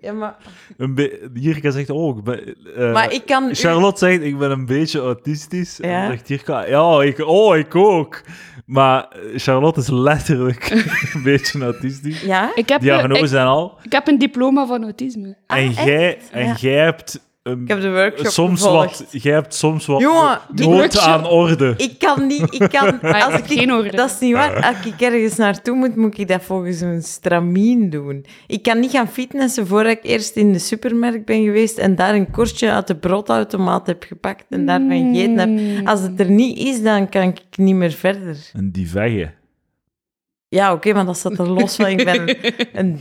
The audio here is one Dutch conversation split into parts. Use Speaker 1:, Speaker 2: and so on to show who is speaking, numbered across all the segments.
Speaker 1: Ja, maar,
Speaker 2: Een be- Jirka zegt ook... be- eh,
Speaker 1: maar ik kan... u-
Speaker 2: Charlotte zegt, ik ben een beetje autistisch. En
Speaker 1: Ja.
Speaker 2: dan zegt Jirka, ja, ik, oh, ik ook. Maar eh, Charlotte is letterlijk een beetje autistisch.
Speaker 1: Ja?
Speaker 3: Ik heb, een,
Speaker 2: Diagnose
Speaker 3: ik,
Speaker 2: en al.
Speaker 3: ik heb een diploma van autisme.
Speaker 1: Ah,
Speaker 2: en
Speaker 1: echt?
Speaker 2: jij, en
Speaker 1: Ja.
Speaker 2: jij hebt... een-
Speaker 1: Ik heb de workshop
Speaker 2: soms
Speaker 1: gevolgd.
Speaker 2: wat, jij hebt soms wat
Speaker 1: Jongen,
Speaker 2: no-
Speaker 3: die
Speaker 2: nood
Speaker 3: workshop-
Speaker 2: aan orde.
Speaker 1: Ik kan niet... Ik kan,
Speaker 3: Maar
Speaker 1: als
Speaker 3: ik heb
Speaker 1: ik,
Speaker 3: geen orde.
Speaker 1: Dat is niet waar. Als ik ergens naartoe moet, moet ik dat volgens een stramien doen. Ik kan niet gaan fitnessen voordat ik eerst in de supermarkt ben geweest en daar een korstje uit de broodautomaat heb gepakt en daarvan gegeten
Speaker 3: Mm.
Speaker 1: heb. Als het er niet is, dan kan ik niet meer verder.
Speaker 2: Een divegge.
Speaker 1: Ja, oké, maar dat staat er los van. Ik ben een, een,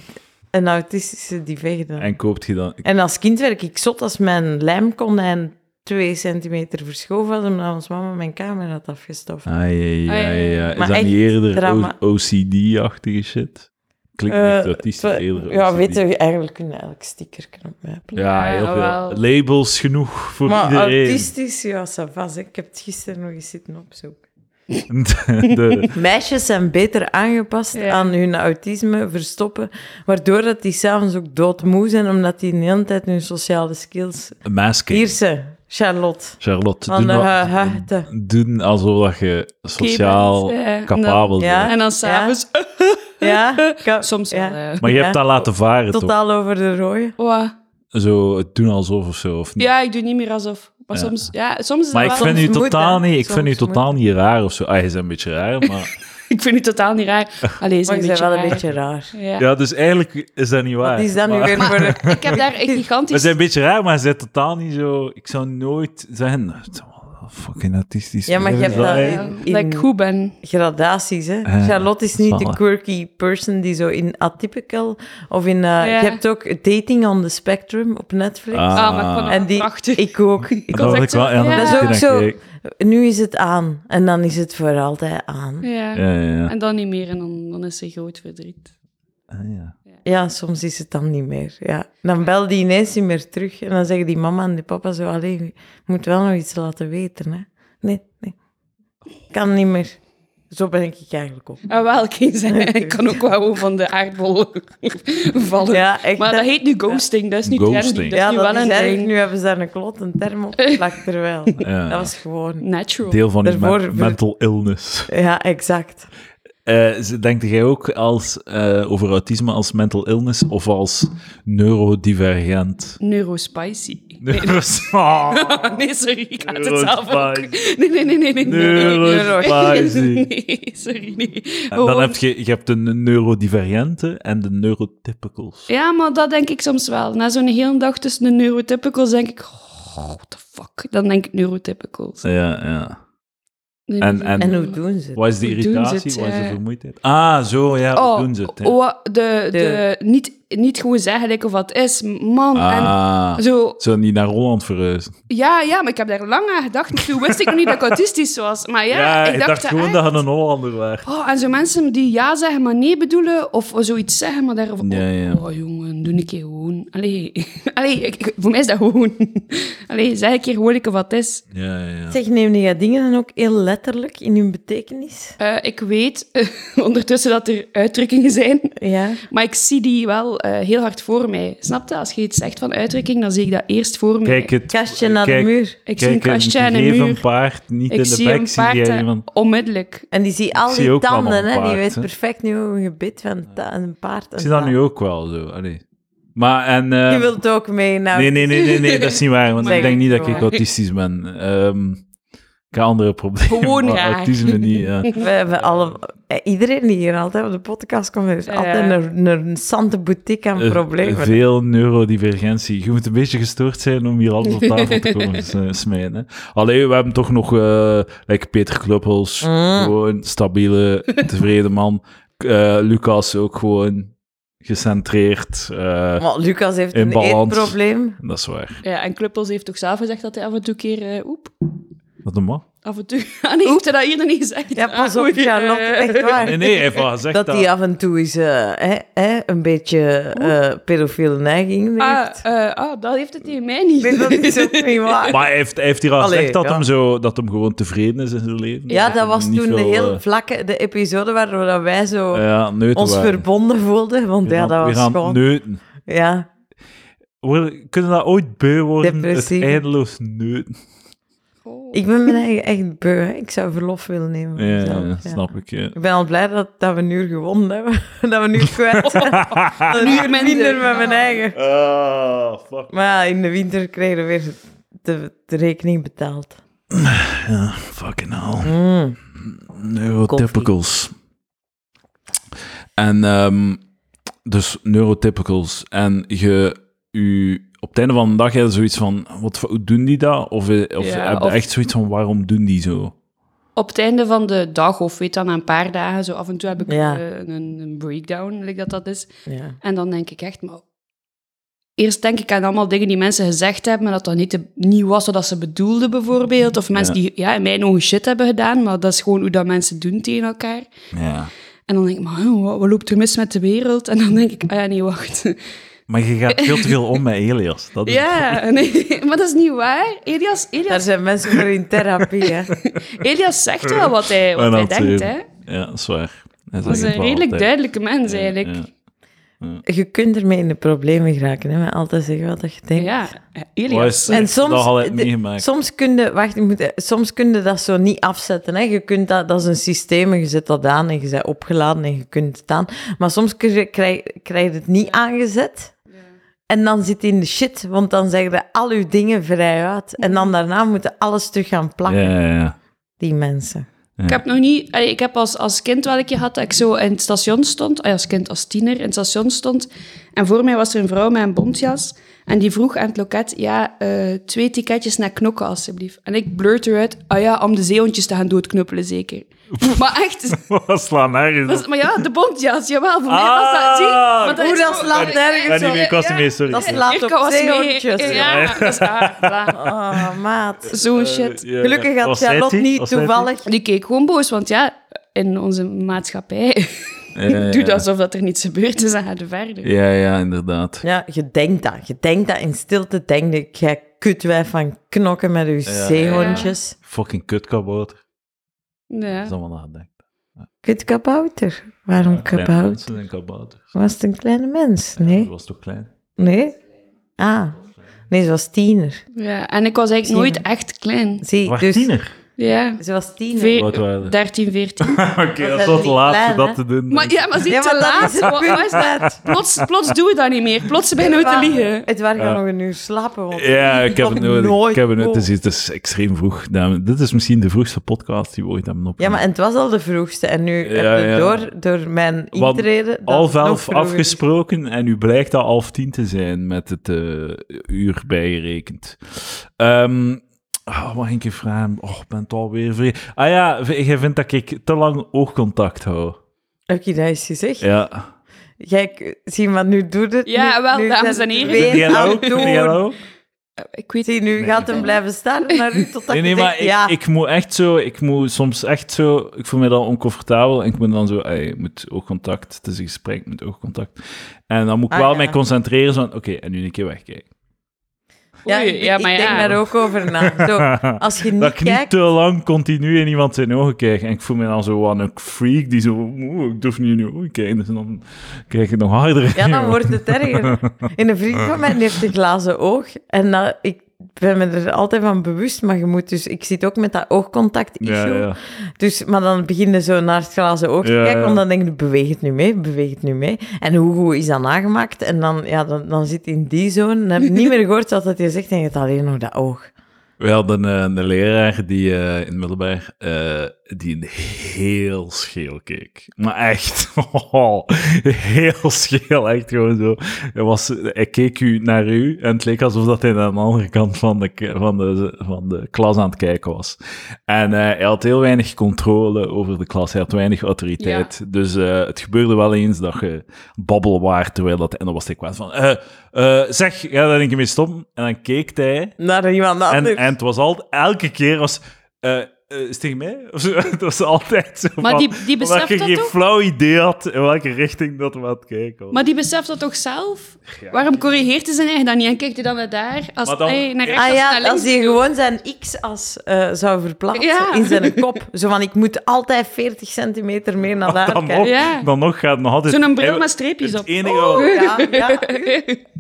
Speaker 1: een autistische divege dan.
Speaker 2: En koopt je dan...
Speaker 1: En als kind werd ik zot als mijn lijmkonijn twee centimeter verschoven was, omdat ons mama mijn kamer had afgestoft.
Speaker 2: Ai, ai, ai, ai, ai. Is
Speaker 1: Maar
Speaker 2: dat
Speaker 1: echt
Speaker 2: niet eerder
Speaker 1: drama.
Speaker 2: O- OCD-achtige shit? Klinkt niet echt
Speaker 1: Eh,
Speaker 2: autistisch,
Speaker 1: twa-
Speaker 2: eerder
Speaker 1: Ja,
Speaker 2: OCD.
Speaker 1: weet je, eigenlijk kunnen elk sticker op mij plakken.
Speaker 2: Ja, heel
Speaker 3: Ja,
Speaker 2: veel.
Speaker 3: wel.
Speaker 2: Labels genoeg voor
Speaker 1: maar
Speaker 2: iedereen.
Speaker 1: autistisch, ja, ça va, zeg. Ik heb het gisteren nog eens zitten opzoeken.
Speaker 2: De- de-
Speaker 1: Meisjes zijn beter aangepast
Speaker 3: Ja.
Speaker 1: aan hun autisme verstoppen, waardoor dat die s'avonds ook doodmoe zijn, omdat die de hele tijd hun sociale skills...
Speaker 2: masking.
Speaker 1: Hier ze, Charlotte,
Speaker 2: Charlotte,
Speaker 1: van eh,
Speaker 2: doen,
Speaker 1: de
Speaker 2: wa-
Speaker 1: hu- huchte.
Speaker 2: doen alsof dat je sociaal
Speaker 3: bent, ja.
Speaker 2: capabel
Speaker 1: eh, Ja.
Speaker 2: bent.
Speaker 3: En dan s'avonds...
Speaker 1: Ja, ik heb-
Speaker 3: Soms wel,
Speaker 1: ja.
Speaker 3: eh,
Speaker 2: Maar je hebt
Speaker 1: Ja.
Speaker 2: dat laten varen, toch?
Speaker 1: Totaal over de rode.
Speaker 3: wat?
Speaker 2: Zo, het doen alsof of zo, of niet?
Speaker 3: Ja, ik doe niet meer alsof. Maar
Speaker 2: Ja.
Speaker 3: soms... Ja, soms is
Speaker 2: Maar ik
Speaker 3: dat wel...
Speaker 2: vind
Speaker 1: Soms
Speaker 2: u
Speaker 1: moet,
Speaker 2: totaal
Speaker 1: hè.
Speaker 2: niet, ik vind u
Speaker 1: Soms moet.
Speaker 2: totaal niet raar of zo. Ah, je bent een beetje raar, maar...
Speaker 3: Ik vind het totaal niet raar. Allee, is
Speaker 1: Maar
Speaker 3: een
Speaker 1: je bent
Speaker 3: beetje
Speaker 1: wel
Speaker 3: raar.
Speaker 1: een beetje raar.
Speaker 3: Ja.
Speaker 2: Ja, dus eigenlijk is dat niet waar.
Speaker 1: Wat is dat nu
Speaker 2: Maar-
Speaker 1: weer voor... een-
Speaker 3: Ik heb daar echt
Speaker 2: We
Speaker 3: gigantisch...
Speaker 2: zijn een beetje raar, maar ze zijn totaal niet zo... Ik zou nooit zeggen... "Nou, "Het is allemaal Fucking artistisch.
Speaker 1: Ja, maar je hebt dat...
Speaker 3: Ja,
Speaker 1: in-
Speaker 3: Dat ik
Speaker 1: in-
Speaker 3: eh, goed ben.
Speaker 1: gradaties. Hè?
Speaker 2: Eh,
Speaker 1: Charlotte is niet de
Speaker 2: zalig.
Speaker 1: quirky person die zo in atypical of in. eh, Je hebt ook Dating on the Spectrum op Netflix.
Speaker 2: Ah.
Speaker 3: Ah, maar ik vond dat
Speaker 1: En die,
Speaker 3: prachtig.
Speaker 1: ik ook. Ik
Speaker 2: Dat
Speaker 3: was
Speaker 2: wil
Speaker 3: echt
Speaker 2: ik wel...
Speaker 3: zo-
Speaker 2: ja,
Speaker 3: ja.
Speaker 2: dat
Speaker 1: Dat
Speaker 2: is
Speaker 1: is ook zo.
Speaker 2: Ja,
Speaker 1: Nu is het aan en dan is het voor altijd aan.
Speaker 3: Ja.
Speaker 2: ja, ja.
Speaker 3: En dan niet meer. En dan, dan is ze groot verdriet.
Speaker 2: Ah, ja.
Speaker 1: Ja, soms is het dan niet meer. Ja. Dan bel die ineens niet meer terug en dan zeggen die mama en die papa zo: Allee, je moet wel nog iets laten weten. Hè? Nee, nee. Kan niet meer. Zo ben ik eigenlijk ook.
Speaker 3: Ah, wel, geen zijn. Ik kan ook wel gewoon van de aardbol vallen.
Speaker 1: Ja, echt.
Speaker 3: Maar dat
Speaker 1: hè.
Speaker 3: heet nu ghosting. Dat is nu
Speaker 2: Ghosting.
Speaker 3: trendy. Dat is
Speaker 1: ja,
Speaker 3: nu
Speaker 1: dat
Speaker 3: wel
Speaker 1: is
Speaker 3: een
Speaker 1: eigenlijk,
Speaker 3: ding.
Speaker 1: nu hebben ze daar een klot een term op geplakt, terwijl...
Speaker 2: Ja.
Speaker 1: Dat was gewoon...
Speaker 3: Natural.
Speaker 2: Deel van uw
Speaker 1: Daarvoor
Speaker 2: men-
Speaker 1: ver-
Speaker 2: mental illness.
Speaker 1: Ja, exact.
Speaker 2: Eh, ze- denkt jij ook als, eh, over autisme als mental illness of als neurodivergent?
Speaker 3: Neurospicy.
Speaker 2: Neuros- Ah,
Speaker 3: nee, sorry. Ik had het zelf ook.
Speaker 2: Neurospicy.
Speaker 3: Nee, nee, nee, nee. nee,
Speaker 2: Neurospicy.
Speaker 3: Nee, sorry, nee. Oh.
Speaker 2: En Dan
Speaker 3: Gewoon-
Speaker 2: heb je, je hebt de neurodivergente en de neurotypicals.
Speaker 3: Ja, maar dat denk ik soms wel. Na zo'n hele dag tussen de neurotypicals denk ik... Oh, what the fuck? Dan denk ik neurotypicals.
Speaker 2: Ja, ja.
Speaker 3: Nee,
Speaker 2: En,
Speaker 3: nee.
Speaker 2: en,
Speaker 1: En hoe doen ze het?
Speaker 2: wat is de
Speaker 3: Hoe doen ze het,
Speaker 2: irritatie? Wat is de
Speaker 3: eh?
Speaker 2: vermoeidheid? Ah, zo, ja, hoe doen ze het? hè?
Speaker 3: wa- Oh, de, de, niet, niet gewoon zeggen like, of wat is, man.
Speaker 2: Ah,
Speaker 3: En zo,
Speaker 2: zo niet naar Holland verhuizen.
Speaker 3: ja, ja, maar ik heb daar lang aan gedacht. maar Toen wist ik nog niet dat ik autistisch was. Maar ja,
Speaker 2: ik, dacht, gewoon
Speaker 3: echt.
Speaker 2: dat ah. je een Hollander was.
Speaker 3: Oh, en zo mensen die ja zeggen, maar nee bedoelen, of zoiets zeggen, maar daarvan...
Speaker 2: Ja, ja.
Speaker 3: Oh, jongen, doe een keer gewoon. Allee, Allee ik- ik- voor mij is dat gewoon... Allee, zeg een keer gewoon like, wat is.
Speaker 2: Ja, ja, ja.
Speaker 1: Zeg, neem je dingen dan ook heel letterlijk in hun betekenis?
Speaker 3: Eh, ik weet ondertussen dat er uitdrukkingen zijn
Speaker 1: Ja.
Speaker 3: Maar ik zie die wel eh, heel hard voor mij. Snap je? Als je iets zegt van uitdrukking, dan zie ik dat eerst voor mij.
Speaker 2: Kijk, het,
Speaker 1: Kastje naar de
Speaker 2: kijk,
Speaker 1: muur.
Speaker 3: ik zie een kastje en een
Speaker 2: geef
Speaker 3: muur.
Speaker 2: een paard niet
Speaker 3: ik
Speaker 2: in de
Speaker 3: zie
Speaker 2: bek,
Speaker 3: een
Speaker 2: zie
Speaker 3: paard
Speaker 2: jij
Speaker 3: en-
Speaker 2: iemand-
Speaker 3: onmiddellijk.
Speaker 1: En die ziet al
Speaker 2: zie
Speaker 1: die
Speaker 2: ook wel
Speaker 1: tanden,
Speaker 2: nog een
Speaker 1: hè. Die
Speaker 2: paard,
Speaker 1: weet
Speaker 2: hè.
Speaker 1: perfect nu hoe een gebit van ta- een paard...
Speaker 2: Ik zie dat nu ook wel zo. Allee. Maar en... eh,
Speaker 1: Je wilt ook mee, nou...
Speaker 2: nee, nee, nee, nee, nee, dat is niet waar, want
Speaker 1: Zeg
Speaker 2: ik denk
Speaker 1: ik
Speaker 2: niet dat ik
Speaker 1: gewoon.
Speaker 2: autistisch ben. Ehm, ik heb andere problemen,
Speaker 3: Gewoon
Speaker 2: maar
Speaker 3: raar.
Speaker 2: autisme niet. ja.
Speaker 1: We hebben alle... eh, Iedereen die hier altijd op de podcast komt, heeft
Speaker 3: Ja.
Speaker 1: altijd een, een sante boutique aan
Speaker 2: Eh,
Speaker 1: problemen.
Speaker 2: Veel neurodivergentie. Je moet een beetje gestoord zijn om hier alles op tafel te komen s- eh, smijten. hè. Allee, we hebben toch nog eh, like Peter Kluppels,
Speaker 1: Mm.
Speaker 2: gewoon stabiele, tevreden man. K- eh, Lucas ook gewoon gecentreerd. eh,
Speaker 1: Maar Lucas heeft
Speaker 2: In
Speaker 1: een
Speaker 2: balans.
Speaker 1: eetprobleem.
Speaker 2: dat is waar.
Speaker 3: Ja, en Kluppels heeft toch zelf gezegd dat hij af en toe een keer... eh, oep,
Speaker 2: Wat een man.
Speaker 3: af en toe... Ah nee, heeft hij dat hier nog niet gezegd?
Speaker 1: Ja, pas
Speaker 3: Ah,
Speaker 1: op,
Speaker 3: oei,
Speaker 1: Charlotte,
Speaker 3: eh.
Speaker 1: echt waar.
Speaker 2: Nee, nee, hij heeft al gezegd dat.
Speaker 1: Dat hij af en toe eens eh, hè, hè, een beetje eh pedofiele neigingen
Speaker 3: Ah,
Speaker 1: heeft.
Speaker 3: eh, ah, dat heeft het tegen mij niet.
Speaker 1: Nee, dat is ook niet waar.
Speaker 2: Maar hij heeft, hij heeft hier al
Speaker 1: Allee,
Speaker 2: gezegd dat,
Speaker 1: ja.
Speaker 2: hem zo, dat hem gewoon tevreden is in zijn leven.
Speaker 1: Ja, dat
Speaker 2: hem
Speaker 1: was
Speaker 2: niet
Speaker 1: toen de
Speaker 2: veel,
Speaker 1: heel
Speaker 2: eh,
Speaker 1: vlakke de episode waardoor dat wij zo
Speaker 2: ja, neuten
Speaker 1: ons
Speaker 2: waren.
Speaker 1: verbonden voelden. Want
Speaker 2: We
Speaker 1: ja,
Speaker 2: gaan-
Speaker 1: dat
Speaker 2: we
Speaker 1: was
Speaker 2: gaan
Speaker 1: gewoon...
Speaker 2: neuten.
Speaker 1: Ja.
Speaker 2: Worden- Kunnen dat ooit beu worden?
Speaker 1: Depressief.
Speaker 2: Het eindeloos neuten.
Speaker 3: Oh.
Speaker 1: Ik ben mijn eigen echt beu. hè. Ik zou verlof willen nemen. voor
Speaker 2: Ja,
Speaker 1: mezelf, ja.
Speaker 2: snap ik. Ja.
Speaker 1: Ik ben al blij dat, dat we nu gewonnen hebben. dat we nu kwijt zijn. Dat
Speaker 3: Nu
Speaker 1: ik minder
Speaker 3: minder.
Speaker 1: met mijn eigen.
Speaker 2: Ah, fuck.
Speaker 1: Maar ja, in de winter kregen we weer de, de rekening betaald.
Speaker 2: Ja, fucking hell.
Speaker 1: Mm.
Speaker 2: Neurotypicals. En ehm, dus neurotypicals. En je, u, op het einde van de dag heb je zoiets van, wat, voor- hoe doen die dat? Of, eh, of
Speaker 3: Ja,
Speaker 2: heb je
Speaker 3: of-
Speaker 2: echt zoiets van, waarom doen die zo?
Speaker 3: Op het einde van de dag, of weet dan, na een paar dagen, zo af en toe heb ik
Speaker 1: Ja.
Speaker 3: eh, een, een breakdown, like dat dat is.
Speaker 1: Ja.
Speaker 3: En dan denk ik echt, maar... Eerst denk ik aan allemaal dingen die mensen gezegd hebben, maar dat dat niet, de- niet was wat dat ze bedoelden, bijvoorbeeld. Of mensen
Speaker 2: Ja.
Speaker 3: die ja, in mijn ogen shit hebben gedaan, maar dat is gewoon hoe dat mensen doen tegen elkaar.
Speaker 2: Ja.
Speaker 3: En dan denk ik, maar huh, wat, wat loopt er mis met de wereld? En dan denk ik, ah ja, nee, wacht.
Speaker 2: Maar je gaat veel te veel om met Elias. Dat is
Speaker 3: ja, nee, maar dat is niet waar. Elias,
Speaker 1: Daar
Speaker 3: Elias,
Speaker 1: zijn mensen voor in therapie, hè.
Speaker 3: Elias zegt wel wat hij,
Speaker 2: En
Speaker 3: wat hij
Speaker 2: dat
Speaker 3: denkt,
Speaker 2: zeven.
Speaker 3: hè.
Speaker 2: Ja, dat is waar. Hij
Speaker 3: Dat is
Speaker 2: zegt het
Speaker 3: een
Speaker 2: wel
Speaker 3: redelijk
Speaker 2: altijd.
Speaker 3: duidelijke mens, eigenlijk.
Speaker 2: Ja,
Speaker 1: Je kunt ermee in de problemen geraken, hè. Maar altijd zeggen wat je denkt.
Speaker 3: Ja, eh,
Speaker 2: ja.
Speaker 3: Elias.
Speaker 2: Wat is-
Speaker 1: En soms,
Speaker 2: dat had ik
Speaker 1: de-
Speaker 2: meegemaakt.
Speaker 1: soms kun je, wacht, ik moet, eh, soms kun je dat zo niet afzetten. Hè. Je kunt dat, dat is een systeem en je zet dat aan en je bent opgeladen en je kunt het aan. Maar soms kun je- krijg, krijg je het niet aangezet. En dan zit je in de shit, want dan zeggen je al je dingen vrij uit. En dan daarna moeten alles terug gaan plakken,
Speaker 2: Ja, ja, ja.
Speaker 1: die mensen.
Speaker 3: Ik heb nog niet... allee, ik heb als, als kind wel een keer gehad dat ik zo in het station stond. allee, als kind, als tiener, in het station stond. En voor mij was er een vrouw met een bontjas. En die vroeg aan het loket, ja, eh, twee ticketjes naar knokken alsjeblieft. En ik blurt eruit, ah ja, om de zeehondjes te gaan doodknuppelen zeker. maar echt,
Speaker 2: Wat slaan nergens
Speaker 3: dat is- maar ja, de bontjas, jawel, voor mij
Speaker 2: Ah,
Speaker 3: was dat... Zie, maar dat
Speaker 1: hoe
Speaker 3: is
Speaker 1: dat
Speaker 3: zo-
Speaker 1: slaat nergens
Speaker 2: Ik ben niet meer, ik was
Speaker 3: Ja,
Speaker 2: niet meer, sorry.
Speaker 1: Dat is
Speaker 2: Ja.
Speaker 1: laat
Speaker 3: Ik
Speaker 1: op
Speaker 3: was mee.
Speaker 1: zeehondjes.
Speaker 3: Ja, dat is waar, voilà.
Speaker 1: Oh, maat.
Speaker 3: Zo'n shit.
Speaker 2: Eh, Ja.
Speaker 1: Gelukkig had
Speaker 2: Was hij
Speaker 1: Charlotte
Speaker 2: die?
Speaker 1: niet
Speaker 2: Was hij die?
Speaker 1: toevallig...
Speaker 3: Die keek gewoon boos, want ja, in onze maatschappij
Speaker 2: ja,
Speaker 3: doet
Speaker 2: ja.
Speaker 3: alsof dat er niets dus gebeurd is en gaat verder.
Speaker 2: Ja, ja, inderdaad.
Speaker 1: Ja, je denkt dat. Je denkt dat in stilte. Denk ik, jij kutwijf van knokken met je
Speaker 2: ja, ja.
Speaker 1: zeehondjes.
Speaker 2: Fucking kutkabouter.
Speaker 3: Ja.
Speaker 2: Dat is allemaal nagedacht.
Speaker 1: Kut kabouter. Waarom
Speaker 2: Kleine
Speaker 1: kabouter?
Speaker 2: mensen zijn kabouters.
Speaker 1: Was het een kleine mens?
Speaker 2: Dat
Speaker 1: Nee?
Speaker 2: was toch klein?
Speaker 1: Nee? Ah. Nee, ze was tiener.
Speaker 3: Ja, en ik was eigenlijk nooit echt klein.
Speaker 1: Zie,
Speaker 2: Was
Speaker 1: dus...
Speaker 2: tiener?
Speaker 3: Ja,
Speaker 1: Ze was tiener.
Speaker 3: Veer-
Speaker 2: Wat waren we?
Speaker 3: 13, 14.
Speaker 2: Oké,
Speaker 1: dat
Speaker 2: dat
Speaker 1: is
Speaker 2: is wat
Speaker 1: niet
Speaker 2: laat
Speaker 1: klein,
Speaker 2: om dat
Speaker 1: hè?
Speaker 2: te doen.
Speaker 3: Maar ja, maar zie,
Speaker 1: Ja,
Speaker 3: te
Speaker 1: maar dat
Speaker 3: laat.
Speaker 1: is het
Speaker 3: Wat- wat is dat?
Speaker 1: punt.
Speaker 3: Plots, plots doen we dat niet meer. Plots ben je te liegen.
Speaker 1: Het waren
Speaker 2: Ja.
Speaker 1: nog een uur slapen. Want
Speaker 2: Ja, ik heb het
Speaker 1: Nog
Speaker 2: nodig.
Speaker 1: nooit
Speaker 2: Ik heb het nodig.
Speaker 1: gehoord.
Speaker 2: Het is, het is extreem vroeg. Dames. Dit is misschien de vroegste podcast die we ooit hebben
Speaker 1: Ja,
Speaker 2: opgenomen.
Speaker 1: maar en het was al de vroegste. En nu
Speaker 2: Ja,
Speaker 1: heb je
Speaker 2: ja.
Speaker 1: door, door mijn
Speaker 2: Want
Speaker 1: intreden... dat
Speaker 2: Half
Speaker 1: het nog
Speaker 2: elf
Speaker 1: vroeger is.
Speaker 2: afgesproken en u blijkt al half tien te zijn met het eh, uur bijgerekend. Ehm oh, wat ging ik je vragen? Oh, ik ben het alweer vreemd. Ah ja, v- jij vindt dat ik te lang oogcontact hou.
Speaker 1: Heb je dat eens gezegd?
Speaker 2: Ja.
Speaker 1: Jij, k- zie, maar nu doet het.
Speaker 3: Ja,
Speaker 1: nu-
Speaker 3: wel,
Speaker 1: nu
Speaker 3: dames
Speaker 1: zijn
Speaker 3: en
Speaker 1: het
Speaker 3: heren.
Speaker 1: weer
Speaker 2: Vind jij dat
Speaker 1: aan
Speaker 2: ook?
Speaker 1: het
Speaker 2: Vind jij nou?
Speaker 1: doen.
Speaker 2: dat ook?
Speaker 3: Ik weet
Speaker 1: Zie, nu gaat hem blijven staan, maar nu totdat
Speaker 2: Nee,
Speaker 1: je
Speaker 2: nee,
Speaker 1: denkt,
Speaker 2: maar ik,
Speaker 1: ja,
Speaker 2: ik moet echt zo, ik moet soms echt zo, ik voel me dan oncomfortabel en ik moet dan zo, ey, ik moet oogcontact, het is een gesprek met oogcontact. En dan moet ik
Speaker 1: Ah,
Speaker 2: wel
Speaker 1: ja.
Speaker 2: mij concentreren, zo van, oké, en nu een keer wegkijken.
Speaker 1: ja,
Speaker 3: Oei,
Speaker 1: ik,
Speaker 3: ja,
Speaker 1: ik
Speaker 3: maar
Speaker 1: denk
Speaker 3: ja.
Speaker 1: daar ook over na. Zo, als je niet
Speaker 2: Dat ik niet
Speaker 1: kijkt,
Speaker 2: te lang continu in iemand zijn ogen kijk. En ik voel me dan zo wat een freak die zo... Oeh, ik durf niet in je ogen kijken. Dus dan kijk ik nog harder.
Speaker 1: ja, dan wordt het erger. En een vriend van mij die heeft een glazen oog. En dat, ik ben me er altijd van bewust, maar je moet dus... Ik zit ook met dat
Speaker 2: Ja,
Speaker 1: oogcontact-issue.
Speaker 2: ja.
Speaker 1: Dus, maar dan begin je zo naar het glazen oog te
Speaker 2: Ja,
Speaker 1: kijken,
Speaker 2: ja.
Speaker 1: want dan denk je, beweeg het nu mee, beweeg het nu mee. En hoe goed is dat nagemaakt? En dan, ja, dan, dan zit je in die zone, dan heb je niet meer gehoord wat dat je zegt, en je hebt alleen nog dat oog.
Speaker 2: We hadden eh, een leraar die eh, in het middelbaar... eh, die een heel scheel keek. Maar echt. oh, heel scheel. Echt gewoon zo. Hij, was, hij keek u naar u. En het leek alsof dat hij aan de andere kant van de, k- van de, van de klas aan het kijken was. En eh, hij had heel weinig controle over de klas. Hij had weinig autoriteit. Dus eh, het gebeurde wel eens dat je babbel waard terwijl dat... En dan was hij kwaad van... eh, eh, zeg, ga daar een keer mee stoppen. En dan keek hij...
Speaker 1: Naar iemand anders.
Speaker 2: En, en het was altijd, elke keer was. eh eh, is het tegen mij? Of zo, het was altijd zo.
Speaker 3: Maar
Speaker 2: van-
Speaker 3: die- die beseft
Speaker 2: omdat je
Speaker 3: dat
Speaker 2: geen
Speaker 3: toch?
Speaker 2: flauw idee had in welke richting dat we aan het kijken was.
Speaker 3: Maar die beseft dat toch zelf? Waarom corrigeert hij zijn eigen dan niet? En kijkt hij dan naar daar? Als,
Speaker 2: Maar dan-
Speaker 3: hey, naar rechts
Speaker 1: Ah
Speaker 3: of
Speaker 1: ja,
Speaker 3: naar links?
Speaker 1: als hij gewoon zijn x-as eh, zou verplaatsen
Speaker 3: Ja.
Speaker 1: in zijn kop. Zo van, ik moet altijd 40 centimeter meer naar daar
Speaker 2: dan,
Speaker 1: kijken.
Speaker 2: nog,
Speaker 3: Ja.
Speaker 2: dan nog gaat het nog altijd.
Speaker 3: Zo'n bril
Speaker 2: en-
Speaker 3: met streepjes
Speaker 2: het
Speaker 3: op.
Speaker 2: enige
Speaker 1: Ja, ja.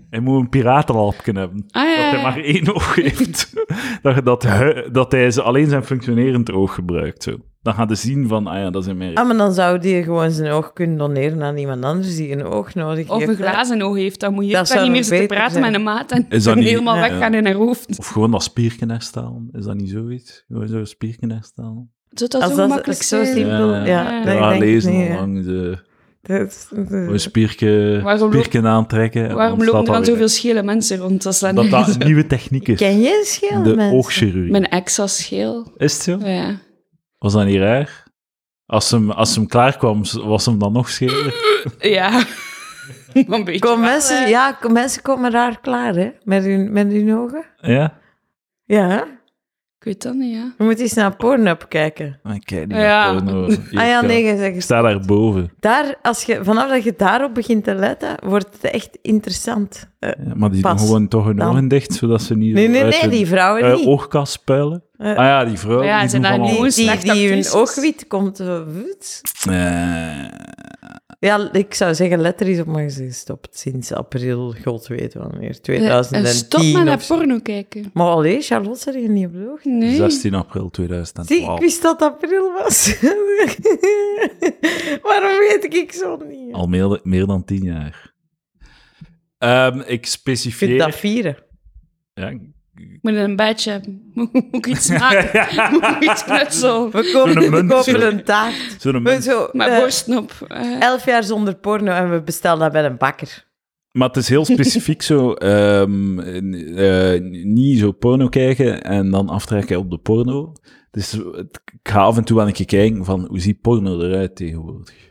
Speaker 2: Hij moet een piratenlapje hebben.
Speaker 3: Ah, ja,
Speaker 2: Dat
Speaker 3: ja,
Speaker 2: hij
Speaker 3: ja.
Speaker 2: maar één oog heeft. dat, je dat, hu- dat hij ze alleen zijn functionerend oog gebruikt. Zo. Dan gaat hij zien van, ah ja, dat is een merk.
Speaker 1: Ah, maar dan zou die gewoon zijn oog kunnen doneren aan iemand anders die een oog nodig
Speaker 3: Of
Speaker 1: heeft.
Speaker 3: een glazen oog heeft, dan moet je
Speaker 1: Dat
Speaker 3: dan
Speaker 1: zou
Speaker 3: niet meer
Speaker 1: nog
Speaker 3: zitten
Speaker 1: beter
Speaker 3: praten
Speaker 1: zijn.
Speaker 3: met een maat en
Speaker 2: Is dat niet-
Speaker 3: helemaal
Speaker 1: Ja.
Speaker 3: weggaan in haar hoofd.
Speaker 2: Of gewoon dat spierken herstellen. Is dat niet zoiets? Gewoon zo'n spierken herstellen.
Speaker 3: Zou dat
Speaker 1: Als
Speaker 3: zo
Speaker 1: dat
Speaker 3: makkelijk
Speaker 1: zo
Speaker 3: zijn?
Speaker 1: simpel- Ja,
Speaker 2: ja,
Speaker 1: ja,
Speaker 2: ja,
Speaker 1: ik denk
Speaker 2: lezen
Speaker 1: het niet, ja.
Speaker 2: lang. De,
Speaker 1: Dat is- dat is-
Speaker 2: een spierken,
Speaker 3: Waarom loopt-
Speaker 2: spierken aantrekken. en
Speaker 3: Waarom
Speaker 2: dan
Speaker 3: lopen er
Speaker 2: staat
Speaker 3: dan
Speaker 2: dat
Speaker 3: zoveel schele mensen rond? Dat is dan
Speaker 2: weer. Dat dat een nieuwe techniek is.
Speaker 1: Ken je schelen,
Speaker 2: De
Speaker 1: mensen?
Speaker 2: oogchirurgie.
Speaker 3: Mijn ex was scheel.
Speaker 2: Is het zo?
Speaker 3: Ja.
Speaker 2: Was dat niet raar? Als hem, als hem klaar kwam, was hem dan nog scheler.
Speaker 3: Ja. Maar een beetje
Speaker 1: Kom,
Speaker 3: wel, hè.
Speaker 1: mensen, ja, kom- mensen komen raar klaar, hè? Met hun, met hun ogen.
Speaker 2: Ja?
Speaker 1: Ja, hè?
Speaker 3: Ik weet dat niet, ja.
Speaker 1: je moet eens naar Pornhub kijken.
Speaker 2: Maar Ik kijk niet
Speaker 3: Ja.
Speaker 2: naar porno.
Speaker 1: Ah ja,
Speaker 2: Ik, eh,
Speaker 1: nee, je zegt
Speaker 2: Ik sta daarboven.
Speaker 1: Daar, als je, vanaf dat je daarop begint te letten, wordt het echt interessant. Eh,
Speaker 2: Ja, maar die
Speaker 1: Pas.
Speaker 2: doen gewoon toch hun
Speaker 1: Dan.
Speaker 2: ogen dicht, zodat ze niet...
Speaker 1: nee, nee,
Speaker 2: uit
Speaker 1: nee,
Speaker 2: hun,
Speaker 1: die vrouwen
Speaker 2: eh,
Speaker 1: niet.
Speaker 2: oogkas puilen.
Speaker 1: Eh.
Speaker 2: ah ja, die vrouw.
Speaker 3: Maar ja,
Speaker 2: die
Speaker 3: zijn
Speaker 2: doen
Speaker 3: daar
Speaker 2: van
Speaker 1: die,
Speaker 3: oeh,
Speaker 2: alles.
Speaker 1: die,
Speaker 3: slechte
Speaker 1: die hun
Speaker 3: actrices.
Speaker 1: oogwit komt. eh, woed.
Speaker 2: Eh,
Speaker 1: Ja, ik zou zeggen, letter is op mij gestopt sinds april, god weet wanneer,
Speaker 3: En
Speaker 1: 2010
Speaker 3: Eh, stop met naar
Speaker 1: of zo.
Speaker 3: porno kijken.
Speaker 1: Maar allee, Charlotte, zat je niet op de oog?
Speaker 3: Nee.
Speaker 2: 16 april
Speaker 1: Zie,
Speaker 2: 2012.
Speaker 1: ik wist dat april was. Waarom weet ik zo niet?
Speaker 2: Al meer, meer dan 10 jaar. Ehm, ik
Speaker 1: Je kunt dat
Speaker 2: specifieer...
Speaker 1: vieren.
Speaker 2: Ja,
Speaker 3: Ik moet een bedje hebben. Moet ik iets maken? Moet ik iets knutselen?
Speaker 1: We kopen,
Speaker 2: Zo'n
Speaker 1: we
Speaker 2: munt,
Speaker 1: kopen
Speaker 2: zo.
Speaker 1: een taart.
Speaker 2: zo'n
Speaker 1: We
Speaker 2: mens-
Speaker 1: zo,
Speaker 3: Met
Speaker 1: eh,
Speaker 3: borstnop. eh.
Speaker 1: elf jaar zonder porno en we bestellen dat bij een bakker.
Speaker 2: Maar het is heel specifiek zo, ehm, n- eh, niet zo porno kijken en dan aftrekken op de porno. Dus het- ik ga af en toe aan een keer kijken van, hoe ziet porno eruit tegenwoordig?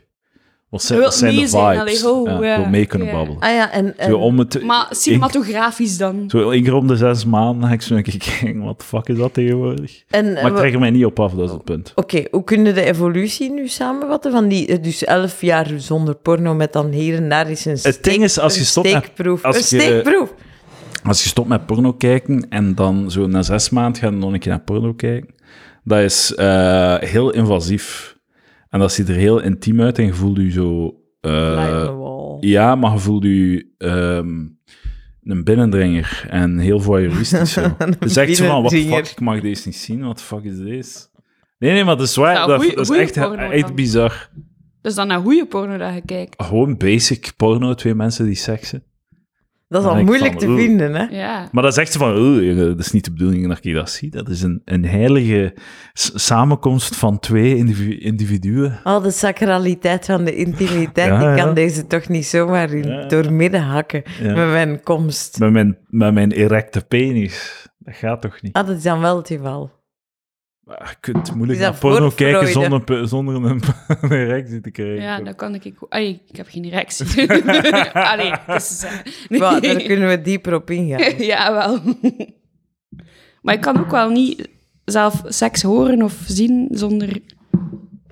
Speaker 2: Wat zijn,
Speaker 3: Je
Speaker 2: wat zijn
Speaker 3: wilt
Speaker 2: de
Speaker 3: mee
Speaker 2: vibes?
Speaker 3: zijn, allee, ho,
Speaker 2: ja, ik
Speaker 3: ja,
Speaker 2: wil mee kunnen
Speaker 3: ja.
Speaker 2: babbelen.
Speaker 1: Ah ja, en, en
Speaker 2: Zo om het,
Speaker 3: Maar cinematografisch dan.
Speaker 2: ik, zo één keer om de zes maanden ga ik zo een keer kijken, wat de fuck is dat tegenwoordig?
Speaker 1: En, eh,
Speaker 2: Maar ik
Speaker 1: we-
Speaker 2: trek er mij niet op af, dat is het punt.
Speaker 1: Oké, hoe kunnen de evolutie nu samenvatten? Van die, eh, dus elf jaar zonder porno met dan hier en daar is een,
Speaker 2: Het ding is, als
Speaker 1: een
Speaker 2: je stopt met-
Speaker 1: steekproef.
Speaker 2: als
Speaker 1: een
Speaker 2: je- eh,
Speaker 1: steekproef.
Speaker 2: Als je stopt met porno kijken en dan zo na zes maanden gaan nog een keer naar porno kijken, dat is eh, heel invasief. En dat ziet er heel intiem uit en je voelt je zo... eh,
Speaker 1: Line the wall.
Speaker 2: ja, maar je voelt je ehm, een binnendringer en heel voyeuristisch zo. Het is echt zo van, wat
Speaker 1: binnendringer.
Speaker 2: fuck, ik mag deze niet zien, wat fuck is deze? Nee, nee, maar dat is waar,
Speaker 3: Nou,
Speaker 2: dat,
Speaker 3: goeie-
Speaker 2: dat is
Speaker 3: goeie
Speaker 2: echt,
Speaker 3: porno
Speaker 2: echt
Speaker 3: dan.
Speaker 2: bizar.
Speaker 3: Dus dan naar goede porno dat je kijkt.
Speaker 2: Gewoon basic porno, twee mensen die seksen.
Speaker 1: Dat is al
Speaker 2: Dan denk ik
Speaker 1: moeilijk
Speaker 2: van,
Speaker 1: te
Speaker 2: oeh.
Speaker 1: vinden, hè?
Speaker 3: Ja.
Speaker 2: Maar dat is echt van, "Oeh, dat is niet de bedoeling dat ik dat zie. Dat is een, een heilige s- samenkomst van twee individu- individuen.
Speaker 1: Al de sacraliteit van de intimiteit.
Speaker 2: Ja,
Speaker 1: ik
Speaker 2: ja.
Speaker 1: kan deze toch niet zomaar in,
Speaker 2: Ja.
Speaker 1: doormidden hakken
Speaker 2: Ja.
Speaker 1: met mijn komst.
Speaker 2: Met mijn, met mijn erecte penis. Dat gaat toch niet?
Speaker 1: Ah, dat is dan wel het geval.
Speaker 2: Ah, Je kunt moeilijk
Speaker 1: Is dat
Speaker 2: naar porno
Speaker 1: voortvrooide?
Speaker 2: kijken zonder, pe- zonder een, een erectie te krijgen.
Speaker 3: Ja, dat kan ik ook. Allee, ik heb geen erectie. Allee, dat is eh, nee.
Speaker 1: Wel, daar kunnen we dieper op ingaan.
Speaker 3: Ja, wel. Maar ik kan ook wel niet zelf seks horen of zien zonder...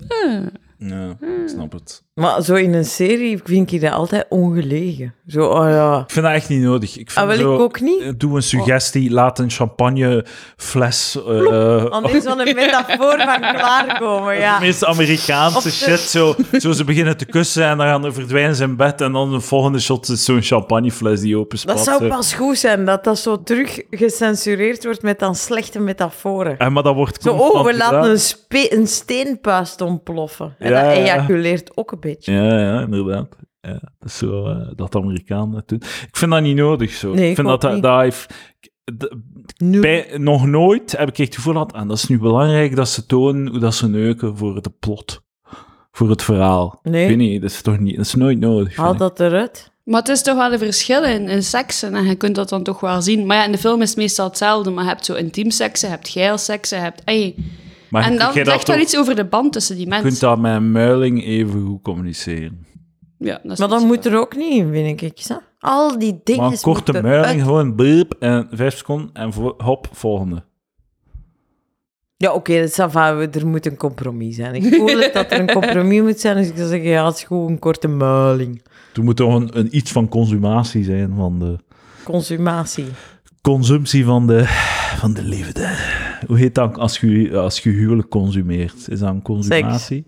Speaker 3: Eh,
Speaker 2: Ja,
Speaker 1: Hmm.
Speaker 2: ik snap het.
Speaker 1: Maar zo in een serie vind ik dat altijd ongelegen. Zo, oh ja.
Speaker 2: Ik vind dat echt niet nodig. Ik vind
Speaker 1: Ah, wel,
Speaker 2: zo,
Speaker 1: ik ook niet.
Speaker 2: eh, Doe een suggestie, laat een champagnefles... eh, eh,
Speaker 1: Anders van een metafoor van klaarkomen, ja.
Speaker 2: Het meest Amerikaanse shit. Zo, zo ze beginnen te kussen en dan gaan ze verdwijnen ze in bed. En dan de volgende shot is zo'n champagnefles die open
Speaker 1: Dat zou pas goed zijn, dat dat zo terug gecensureerd wordt met dan slechte metaforen.
Speaker 2: en, maar dat wordt
Speaker 1: Zo,
Speaker 2: constant
Speaker 1: oh, we laten een,
Speaker 2: gedaan.
Speaker 1: spe- een steenpuist ontploffen. En
Speaker 2: Ja,
Speaker 1: dat
Speaker 2: ja.
Speaker 1: ejaculeert ook een beetje.
Speaker 2: Ja, ja, inderdaad. Ja, dat is zo eh, dat de Amerikanen dat doen. Ik vind dat niet nodig zo.
Speaker 1: Nee,
Speaker 2: ik
Speaker 1: ik
Speaker 2: vind dat,
Speaker 1: ook
Speaker 2: dat,
Speaker 1: niet.
Speaker 2: dat heeft... d-
Speaker 1: Nu-
Speaker 2: bij- nog nooit heb ik echt het gevoel gehad, en dat is nu belangrijk dat ze tonen hoe dat ze neuken voor het plot. Voor het verhaal.
Speaker 1: Nee.
Speaker 2: Ik weet niet, dat is toch niet... Dat is nooit nodig, vind
Speaker 1: Haal
Speaker 2: ik.
Speaker 1: dat eruit.
Speaker 3: Maar het is toch wel een verschil in, in seksen en je kunt dat dan toch wel zien. Maar ja, in de film is het meestal hetzelfde. Maar je hebt zo intiem seksen, je hebt geil seksen, je hebt... Ey.
Speaker 2: Maar
Speaker 3: En
Speaker 2: je-
Speaker 3: dan
Speaker 2: jij dat
Speaker 3: zegt wel
Speaker 2: toch-
Speaker 3: iets over de band tussen die
Speaker 2: Je
Speaker 3: mensen.
Speaker 2: kunt dat met een muiling even goed communiceren.
Speaker 3: Ja, dat is
Speaker 1: Maar dat
Speaker 3: misschien
Speaker 1: moet er ook niet in, vind ik. Zo. Al die dingen.
Speaker 2: Maar een korte muiling, gewoon beep en vijf seconden en vo- hop, volgende.
Speaker 1: Ja, oké, dat is afhaal, we- er moet een compromis zijn. Ik voel het dat er een compromis moet zijn, dus ik zou zeggen, ja, het is gewoon een korte muiling.
Speaker 2: Toen moet toch een, een iets van consumatie zijn, van de
Speaker 1: Consumatie.
Speaker 2: consumptie van de, van de liefde. Hoe heet dat als je, als je huwelijk consumeert? Is dat een consumatie?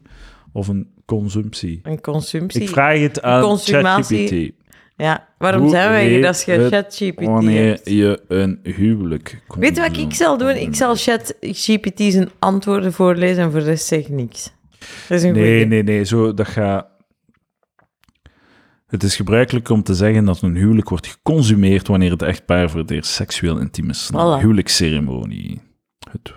Speaker 2: Of een consumptie?
Speaker 1: Een consumptie.
Speaker 2: Ik vraag het
Speaker 1: Een
Speaker 2: aan
Speaker 1: consumatie.
Speaker 2: ChatGPT.
Speaker 1: Ja, waarom
Speaker 2: Hoe
Speaker 1: zijn wij hier
Speaker 2: heet
Speaker 1: als je
Speaker 2: het
Speaker 1: ChatGPT
Speaker 2: Wanneer
Speaker 1: hebt?
Speaker 2: je een huwelijk komt.
Speaker 1: Weet je wat ik zal doen? Ik zal ChatGPT zijn antwoorden voorlezen en voor de rest zeg ik niks. Dat is een
Speaker 2: Nee,
Speaker 1: goeie.
Speaker 2: nee, nee. Zo, dat gaat... Het is gebruikelijk om te zeggen dat een huwelijk wordt geconsumeerd wanneer het echtpaar voor het eerst seksueel intiem is. na een
Speaker 1: Voilà.
Speaker 2: Huwelijksceremonie. Het...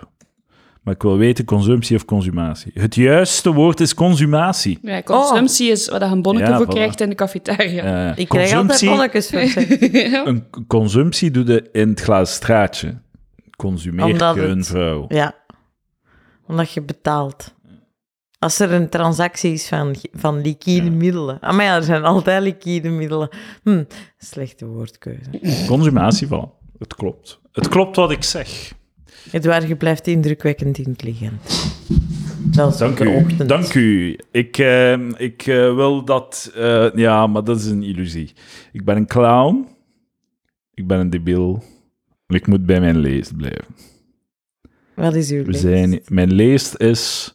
Speaker 2: Maar ik wil weten, consumptie of consumatie? Het juiste woord is consumatie.
Speaker 3: Ja, consumptie is waar je een bonnetje
Speaker 2: Oh. Ja,
Speaker 3: voor
Speaker 2: voilà.
Speaker 3: krijgt in de cafetaria.
Speaker 2: Eh,
Speaker 1: Ik krijg altijd bonnetjes voor seks.
Speaker 2: Een k- consumptie doe je in het glazen straatje. Consumeert
Speaker 1: Omdat
Speaker 2: je een
Speaker 1: het-
Speaker 2: vrouw.
Speaker 1: Ja. Omdat je betaalt. Als er een transactie is van, van liquide middelen. Ah, maar ja, er zijn altijd liquide middelen. Hm, slechte woordkeuze.
Speaker 2: Consumatie, voilà. Het klopt. Het klopt wat ik zeg.
Speaker 1: Edouard, je blijft indrukwekkend intelligent. Zelfs
Speaker 2: Dank
Speaker 1: op de
Speaker 2: u.
Speaker 1: ochtend.
Speaker 2: Dank u. Ik, eh, ik eh, wil dat... eh, ja, maar dat is een illusie. Ik ben een clown. Ik ben een debiel. En Ik moet bij mijn leest blijven.
Speaker 1: Wat is uw
Speaker 2: We
Speaker 1: les?
Speaker 2: zijn, mijn leest is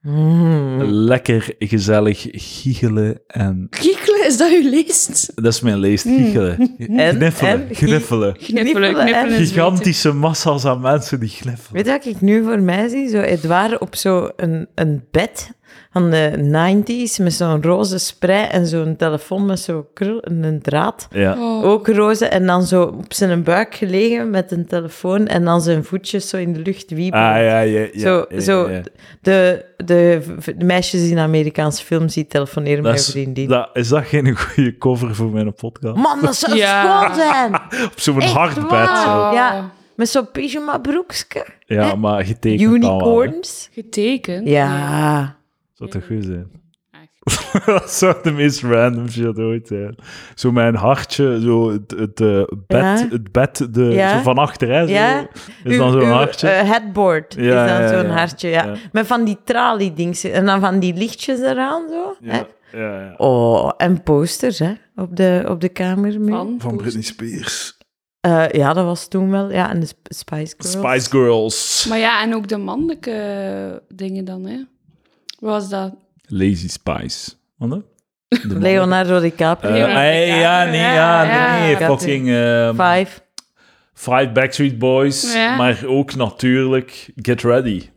Speaker 1: Mm.
Speaker 2: lekker gezellig giechelen en...
Speaker 3: Kiekelen, is dat uw leest?
Speaker 2: Dat is mijn leest, giechelen.
Speaker 1: Mm. En-
Speaker 2: Gniffelen,
Speaker 1: en-
Speaker 2: gniffelen.
Speaker 3: Knippelen, knippelen.
Speaker 1: hè?
Speaker 3: is
Speaker 2: Gigantische massa's aan mensen die gniffelen.
Speaker 1: Weet je wat ik nu voor mij zie? Zo Edouard op zo'n een, een bed van de 90s met zo'n roze sprei en zo'n telefoon met zo'n krul en een draad.
Speaker 2: Ja. Ah,
Speaker 3: Oh.
Speaker 1: Ook roze en dan zo op zijn buik gelegen met een telefoon en dan zijn voetjes zo in de lucht
Speaker 2: Ah,
Speaker 1: wiebelen.
Speaker 2: ja, ja, ja.
Speaker 1: zo,
Speaker 2: ja,
Speaker 1: zo
Speaker 2: ja.
Speaker 1: De, de, v- de meisjes in Amerikaanse films die telefoneren met
Speaker 2: Dat
Speaker 1: hun
Speaker 2: is,
Speaker 1: vriendin.
Speaker 2: dat, is dat geen goede cover voor mijn podcast?
Speaker 1: Man, dat zou
Speaker 3: Ja.
Speaker 1: schoon zijn!
Speaker 2: Op zo'n
Speaker 1: Echt
Speaker 2: hard bed.
Speaker 1: waar.
Speaker 2: zo.
Speaker 1: Ja. Met zo'n pyjama broekje.
Speaker 2: Ja, maar getekend dan wel, hè.
Speaker 1: Unicorns.
Speaker 3: Getekend?
Speaker 1: Ja.
Speaker 2: Zou toch goed zijn?
Speaker 3: Echt.
Speaker 2: dat zou de meest random shit ooit zijn. Zo mijn hartje, zo het, het eh, bed,
Speaker 1: Ja.
Speaker 2: het bed de,
Speaker 1: Ja.
Speaker 2: zo van achter, hè, zo,
Speaker 1: Ja.
Speaker 2: is dan
Speaker 1: Uw-
Speaker 2: zo'n
Speaker 1: uw,
Speaker 2: hartje.
Speaker 1: eh, headboard
Speaker 2: Ja,
Speaker 1: is dan
Speaker 2: ja,
Speaker 1: zo'n
Speaker 2: ja.
Speaker 1: hartje, ja.
Speaker 2: Ja.
Speaker 1: Met van die tralie-dings en dan van die lichtjes eraan zo. Hè?
Speaker 2: ja, ja, ja.
Speaker 1: Oh, en posters hè, op de, op de kamermuur.
Speaker 3: Van,
Speaker 2: Van Britney Spears.
Speaker 1: Eh, ja, dat was toen wel. Ja, en de Sp- Spice Girls.
Speaker 2: Spice Girls.
Speaker 3: Maar ja, en ook de mannelijke dingen dan, hè. Wat was dat?
Speaker 2: Lazy Spice. Wat dan? De man-
Speaker 1: Leonardo
Speaker 2: Eh,
Speaker 1: DiCaprio.
Speaker 3: Ja.
Speaker 2: hey, ja, nee, ja,
Speaker 3: Ja,
Speaker 2: nee,
Speaker 1: ja.
Speaker 2: fucking... ehm,
Speaker 1: Five.
Speaker 2: Five Backstreet Boys,
Speaker 3: Ja.
Speaker 2: maar ook natuurlijk Get Ready.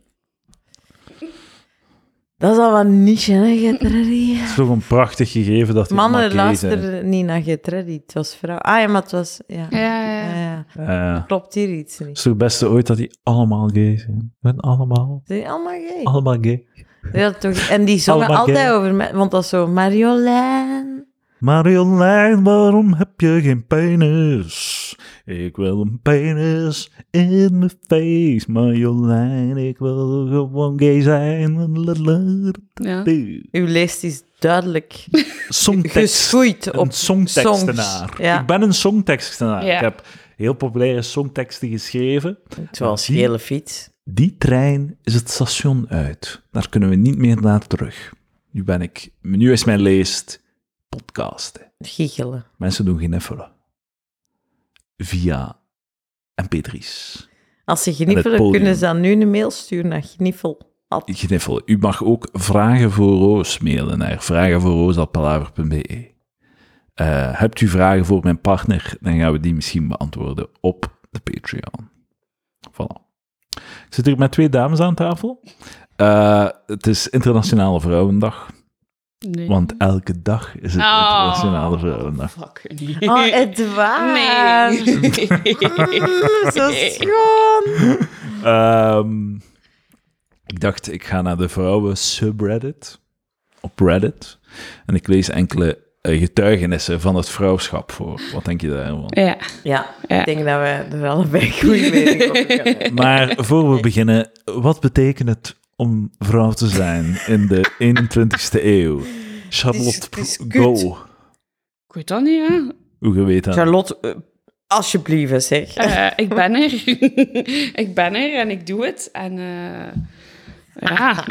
Speaker 1: Dat is al wat niche, hè, Get Ready.
Speaker 2: Het is toch een prachtig gegeven dat die
Speaker 1: Mannen
Speaker 2: makkelijk zijn.
Speaker 1: luisterden niet naar Get Ready. Het was vrouw. Ah ja, maar het was... Ja.
Speaker 3: Ja,
Speaker 1: Ja,
Speaker 3: ja.
Speaker 1: ja.
Speaker 2: Eh, het
Speaker 1: Klopt hier iets niet.
Speaker 2: is toch het beste ooit dat die allemaal gay zijn. Ben allemaal,
Speaker 1: Zijn die allemaal gay?
Speaker 2: allemaal gay.
Speaker 1: oh, Ja, toch. En
Speaker 2: Oh,
Speaker 1: die zongen
Speaker 2: Allemaal gay.
Speaker 1: altijd over mij. Want dat is zo... Marjolein...
Speaker 2: Marjolein, waarom heb je geen penis? Ik wil een penis in mijn face. Marjolein, ik wil gewoon gay zijn.
Speaker 3: ja.
Speaker 1: Uw leest is duidelijk
Speaker 2: Songtekst.
Speaker 1: geschoeid op
Speaker 2: een songtekstenaar.
Speaker 1: songs. Ja.
Speaker 2: Ik ben een songtekstenaar.
Speaker 3: Ja.
Speaker 2: Ik heb heel populaire songteksten geschreven.
Speaker 1: Zoals
Speaker 2: Zie-
Speaker 1: gele fiets.
Speaker 2: Die trein is het station uit. Daar kunnen we niet meer naar terug. Nu ben ik... Nu is mijn leest podcasten.
Speaker 1: Giechelen.
Speaker 2: Mensen doen geen effelen. Via mp3's.
Speaker 1: Als ze
Speaker 2: En het
Speaker 1: gniffelen,
Speaker 2: podium.
Speaker 1: kunnen ze dan nu een mail sturen naar gniffel. At-
Speaker 2: Geen effelen. U mag ook vragen voor Roos mailen naar vragenvoorroos.palaver.be. E. Eh hebt u vragen voor mijn partner, dan gaan we die misschien beantwoorden op de Patreon. Voilà. Ik zit hier met twee dames aan tafel. Eh, het is Internationale Vrouwendag,
Speaker 3: Nee.
Speaker 2: want elke dag is het
Speaker 3: Oh,
Speaker 2: Internationale Vrouwendag.
Speaker 3: Fuck, nee.
Speaker 1: Oh, Edouard. Mm, zo schoon.
Speaker 2: Ehm, ik dacht, ik ga naar de vrouwen subreddit op Reddit en ik lees enkele eh, getuigenissen van het vrouwschap voor. Wat denk je daarvan?
Speaker 3: Ja.
Speaker 1: Ja,
Speaker 3: Ja.
Speaker 1: ik denk dat we er allebei goede mening over hebben.
Speaker 2: Maar voor we beginnen, wat betekent het om vrouw te zijn in de 21ste eeuw? Charlotte,
Speaker 1: Het is- het is
Speaker 2: go.
Speaker 1: kut.
Speaker 3: Ik weet dat niet, hè.
Speaker 2: Hoe je weet dat.
Speaker 1: Charlotte, eh, alsjeblieft, hè, zeg.
Speaker 3: Eh, ik ben er. ik ben er en ik doe het. En eh, ja.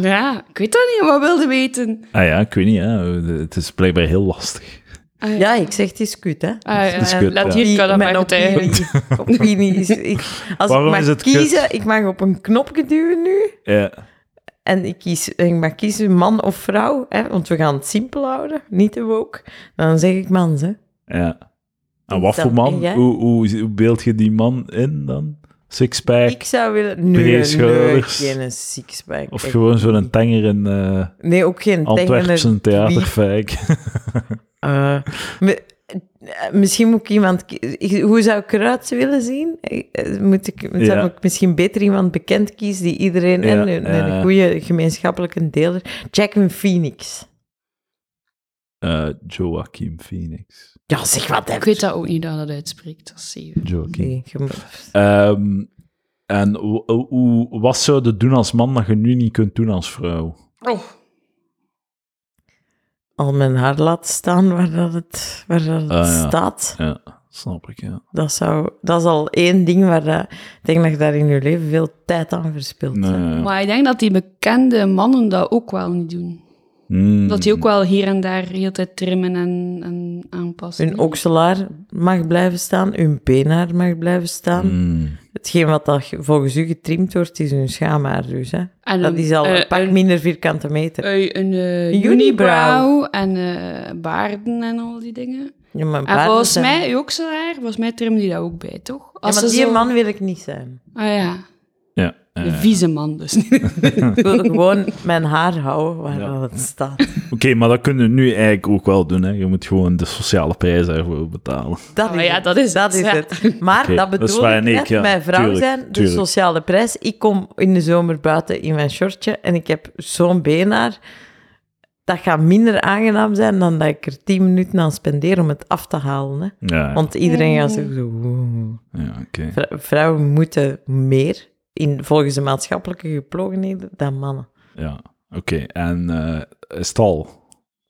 Speaker 3: ja, ik weet dat niet. Wat wilde weten?
Speaker 2: Ah ja, ik weet niet. Hè. Het is blijkbaar heel lastig.
Speaker 3: Ah,
Speaker 1: Ja, ik zeg, het is kut, hè.
Speaker 3: Ah, ja,
Speaker 2: Het is kut,
Speaker 3: laat
Speaker 2: ja.
Speaker 3: hier kan dat
Speaker 1: mijn
Speaker 3: maar
Speaker 1: opinie,
Speaker 3: getuigen.
Speaker 1: opinie is... ik- als
Speaker 2: Waarom
Speaker 1: ik mag
Speaker 2: is het kut?
Speaker 1: kiezen, ik mag op een knopje duwen nu.
Speaker 2: Ja.
Speaker 1: En ik, kies, en ik mag kiezen man of vrouw, hè, want we gaan het simpel houden, niet te woke. Dan zeg ik man, hè.
Speaker 2: Ja. En
Speaker 1: En
Speaker 2: wat voor man?
Speaker 1: dan- en jij?
Speaker 2: Hoe, hoe, hoe beeld je die man in dan? Sixpack?
Speaker 1: Ik zou willen... Nee,
Speaker 2: Brede
Speaker 1: nee,
Speaker 2: schouders.
Speaker 1: geen sixpack.
Speaker 2: Of
Speaker 1: Echt.
Speaker 2: gewoon zo'n tenger in eh
Speaker 1: Nee, ook geen
Speaker 2: Antwerpse
Speaker 1: tengere wie-
Speaker 2: theaterfijk?
Speaker 1: Eh, mi- eh, misschien moet ik iemand... ki- ik- Hoe zou ik eruit willen zien? Ik- eh, Moet ik,
Speaker 2: Ja.
Speaker 1: Zou ik misschien beter iemand bekend kiezen die iedereen...
Speaker 2: Ja,
Speaker 1: en een, een
Speaker 2: ja.
Speaker 1: goede gemeenschappelijke deler. Jackman Phoenix.
Speaker 2: Eh Joaquin Phoenix.
Speaker 1: Ja, zeg wat.
Speaker 3: Ik weet dat ook niet dat dat uitspreekt. Dat zie je.
Speaker 2: Joaquin.
Speaker 1: Nee, je moet-
Speaker 2: Ehm, en hoe- hoe- wat zou je doen als man dat je nu niet kunt doen als vrouw?
Speaker 3: Oh.
Speaker 1: al mijn haar laten staan waar dat het, waar dat het
Speaker 2: Ah, ja.
Speaker 1: staat.
Speaker 2: Ja, snap ik, ja.
Speaker 1: Dat, zou, dat is al één ding waar dat, ik denk dat je daar in je leven veel tijd aan verspilt.
Speaker 2: Nee,
Speaker 1: hè.
Speaker 2: ja.
Speaker 3: Maar ik denk dat die bekende mannen dat ook wel niet doen.
Speaker 2: Hmm.
Speaker 3: Dat die ook wel hier en daar heel de tijd trimmen en, en aanpassen.
Speaker 1: Hun okselaar mag blijven staan, hun beenhaar mag blijven staan.
Speaker 2: Hmm.
Speaker 1: Hetgeen wat dat ge- volgens u getrimd wordt, is hun schaamhaar dus. Hè?
Speaker 3: En
Speaker 1: Dat
Speaker 3: een-
Speaker 1: is al
Speaker 3: eh,
Speaker 1: een pak
Speaker 3: een-
Speaker 1: minder vierkante meter.
Speaker 3: eh, Een eh,
Speaker 1: Een
Speaker 3: unibrow en eh, baarden en al die dingen.
Speaker 1: Ja, maar
Speaker 3: En
Speaker 1: baarden
Speaker 3: volgens
Speaker 1: zijn-
Speaker 3: mij, uw okselaar, volgens mij trimmen die dat ook bij, toch?
Speaker 1: Ja, maar
Speaker 3: ze
Speaker 1: die
Speaker 3: zo-
Speaker 1: man wil ik niet zijn.
Speaker 3: Ah ja,
Speaker 2: Ja,
Speaker 3: de
Speaker 2: ja, ja.
Speaker 3: vieze man dus.
Speaker 1: Ik wil gewoon mijn haar houden waar
Speaker 2: Ja.
Speaker 1: dat het staat.
Speaker 2: Oké, maar dat kunnen we nu eigenlijk ook wel doen. Hè. Je moet gewoon de sociale prijs daarvoor betalen.
Speaker 1: Dat,
Speaker 3: Ah,
Speaker 1: is,
Speaker 3: ja,
Speaker 1: het.
Speaker 3: dat is het, ja.
Speaker 1: het. Maar
Speaker 2: Oké,
Speaker 1: dat
Speaker 2: dat is
Speaker 1: bedoel
Speaker 2: waar
Speaker 1: ik
Speaker 2: en ik,
Speaker 1: net,
Speaker 2: ja,
Speaker 1: mijn vrouw
Speaker 2: tuurlijk,
Speaker 1: zijn, de
Speaker 2: tuurlijk.
Speaker 1: sociale prijs. Ik kom in de zomer buiten in mijn shortje en ik heb zo'n beenhaar. Dat gaat minder aangenaam zijn dan dat ik er tien minuten aan spendeer om het af te halen. Hè.
Speaker 2: Ja, ja,
Speaker 1: Want iedereen gaat zeggen zo... "Oeh."
Speaker 2: ja, oké.
Speaker 1: Vrou- Vrouwen moeten meer, in, volgens de maatschappelijke geplogenheden, dan mannen.
Speaker 2: Ja, oké. En eh is het al?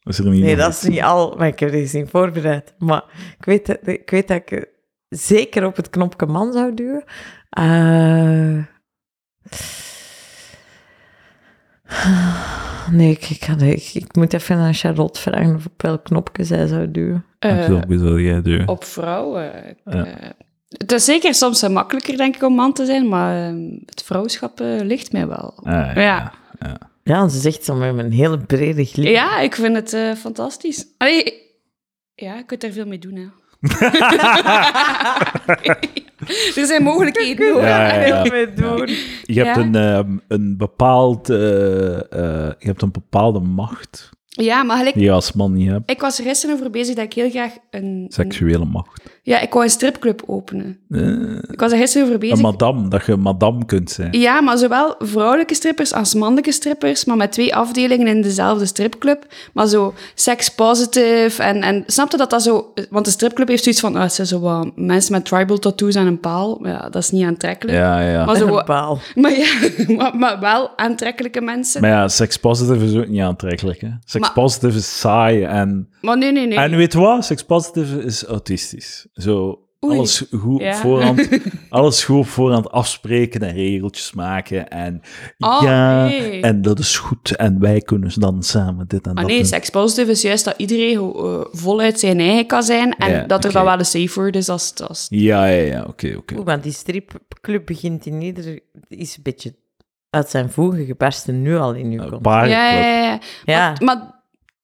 Speaker 2: Is er niet
Speaker 1: Nee,
Speaker 2: nog
Speaker 1: dat
Speaker 2: iets?
Speaker 1: is niet al, maar ik heb deze niet voorbereid. Maar ik weet, dat- ik weet dat ik eh, zeker op het knopje man zou duwen. Eh, Nee, ik, ik, had- ik, ik moet even aan Charlotte vragen of op welk knopje zij zou duwen.
Speaker 3: Eh,
Speaker 2: Welke wil jij doen?
Speaker 3: op vrouwen. ik,
Speaker 2: Ja.
Speaker 3: eh, het is zeker soms eh, makkelijker, denk ik, om man te zijn, maar eh, het vrouwschap eh, ligt mij wel.
Speaker 2: Ah, ja.
Speaker 3: Ja.
Speaker 1: Ja, ze zegt zo met een hele brede glimlach.
Speaker 3: Ja, ik vind het eh, fantastisch. Allee, ik- ja, je kunt er veel mee doen, hè. er zijn mogelijkheden. hoor.
Speaker 2: Ja, ja, ja.
Speaker 1: Ik wil mee doen.
Speaker 2: Je hebt
Speaker 3: Ah, Ja.
Speaker 2: een, ehm, een bepaald... eh, eh, je hebt een bepaalde macht
Speaker 3: Ja, maar gelijk,
Speaker 2: die je als man niet hebt.
Speaker 3: ik was er gisteren over bezig dat ik heel graag een...
Speaker 2: Seksuele macht.
Speaker 3: Ja, ik wou een stripclub openen.
Speaker 2: Eh,
Speaker 3: Ik was er gisteren over
Speaker 2: een
Speaker 3: bezig.
Speaker 2: madame, dat je een madame kunt zijn.
Speaker 3: Ja, maar zowel vrouwelijke strippers als mannelijke strippers, maar met twee afdelingen in dezelfde stripclub. Maar zo sex-positive en, en snapte dat dat zo... Want de stripclub heeft zoiets van, ah, het zijn zo wat mensen met tribal tattoos aan een paal. Maar Ja, dat is niet aantrekkelijk.
Speaker 2: Ja, ja.
Speaker 3: Maar, zo,
Speaker 1: Een
Speaker 3: wat-
Speaker 1: paal.
Speaker 3: maar, ja, maar, maar wel aantrekkelijke mensen.
Speaker 2: Maar ja, sekspositief is ook niet aantrekkelijk. hè. Sekspositief is saai en...
Speaker 3: Maar nee, nee, nee.
Speaker 2: En weet je wat? Sekspositief is autistisch. Zo,
Speaker 3: Oei.
Speaker 2: alles goed,
Speaker 3: Ja.
Speaker 2: op voorhand, alles goed op voorhand afspreken en regeltjes maken. En
Speaker 3: Oh,
Speaker 2: ja,
Speaker 3: nee.
Speaker 2: en dat is goed. En wij kunnen dan samen dit en
Speaker 3: Maar
Speaker 2: dat
Speaker 3: Ah, nee,
Speaker 2: doen.
Speaker 3: sekspositief is juist dat iedereen eh, voluit zijn eigen kan zijn en
Speaker 2: Ja,
Speaker 3: dat er dan
Speaker 2: oké.
Speaker 3: wel een safe word is als... als
Speaker 2: Ja, ja, ja, oké, oké.
Speaker 1: Oeh, want die stripclub begint in ieder... is een beetje uit zijn voegen gebarsten nu al in uw
Speaker 2: Een
Speaker 1: kont.
Speaker 2: paar-
Speaker 3: ja, ja, ja, ja.
Speaker 1: Ja.
Speaker 3: Maar, maar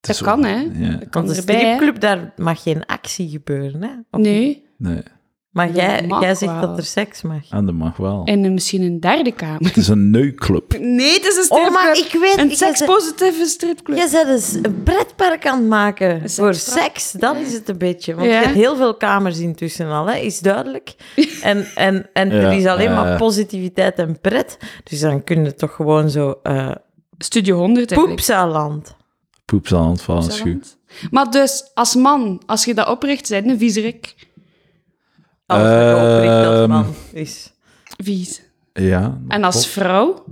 Speaker 2: is
Speaker 3: dat kan,
Speaker 2: ook-
Speaker 3: hè.
Speaker 2: ja.
Speaker 3: Dat
Speaker 1: Want
Speaker 3: kan
Speaker 1: de
Speaker 3: erbij, hè.
Speaker 1: stripclub, daar mag geen actie gebeuren, hè? Of niet?
Speaker 3: Nee,
Speaker 2: Nee,
Speaker 1: Maar
Speaker 3: Dat
Speaker 1: jij,
Speaker 3: mag
Speaker 1: jij zegt
Speaker 3: wel.
Speaker 1: dat er seks mag.
Speaker 2: en dat mag wel.
Speaker 3: in een- misschien een derde kamer.
Speaker 2: Het is een neukclub.
Speaker 3: Nee, het is een
Speaker 1: Oh,
Speaker 3: stripclub.
Speaker 1: maar ik weet...
Speaker 3: Een
Speaker 1: jij zet-
Speaker 3: sekspositieve stripclub.
Speaker 1: Jij bent dus een pretpark aan het maken voor
Speaker 3: sekspark.
Speaker 1: seks. Dat is het een beetje. Want je
Speaker 3: Ja.
Speaker 1: hebt heel veel kamers intussen al, hè, is duidelijk. En, en, en
Speaker 2: Ja,
Speaker 1: er is alleen
Speaker 2: ja, ja.
Speaker 1: maar positiviteit en pret. Dus dan kun je toch gewoon zo... eh
Speaker 3: Studio 100, eigenlijk.
Speaker 1: Poepsaland.
Speaker 2: Poeps aan het
Speaker 1: Oh,
Speaker 2: vallen,
Speaker 3: Zou
Speaker 2: schuw.
Speaker 3: dat? Maar dus, als man, als je dat opricht, zijn een viezerik.
Speaker 1: Alles wat je
Speaker 2: Ehm.
Speaker 1: opricht als man is...
Speaker 3: Vies.
Speaker 2: Ja.
Speaker 3: En als vrouw?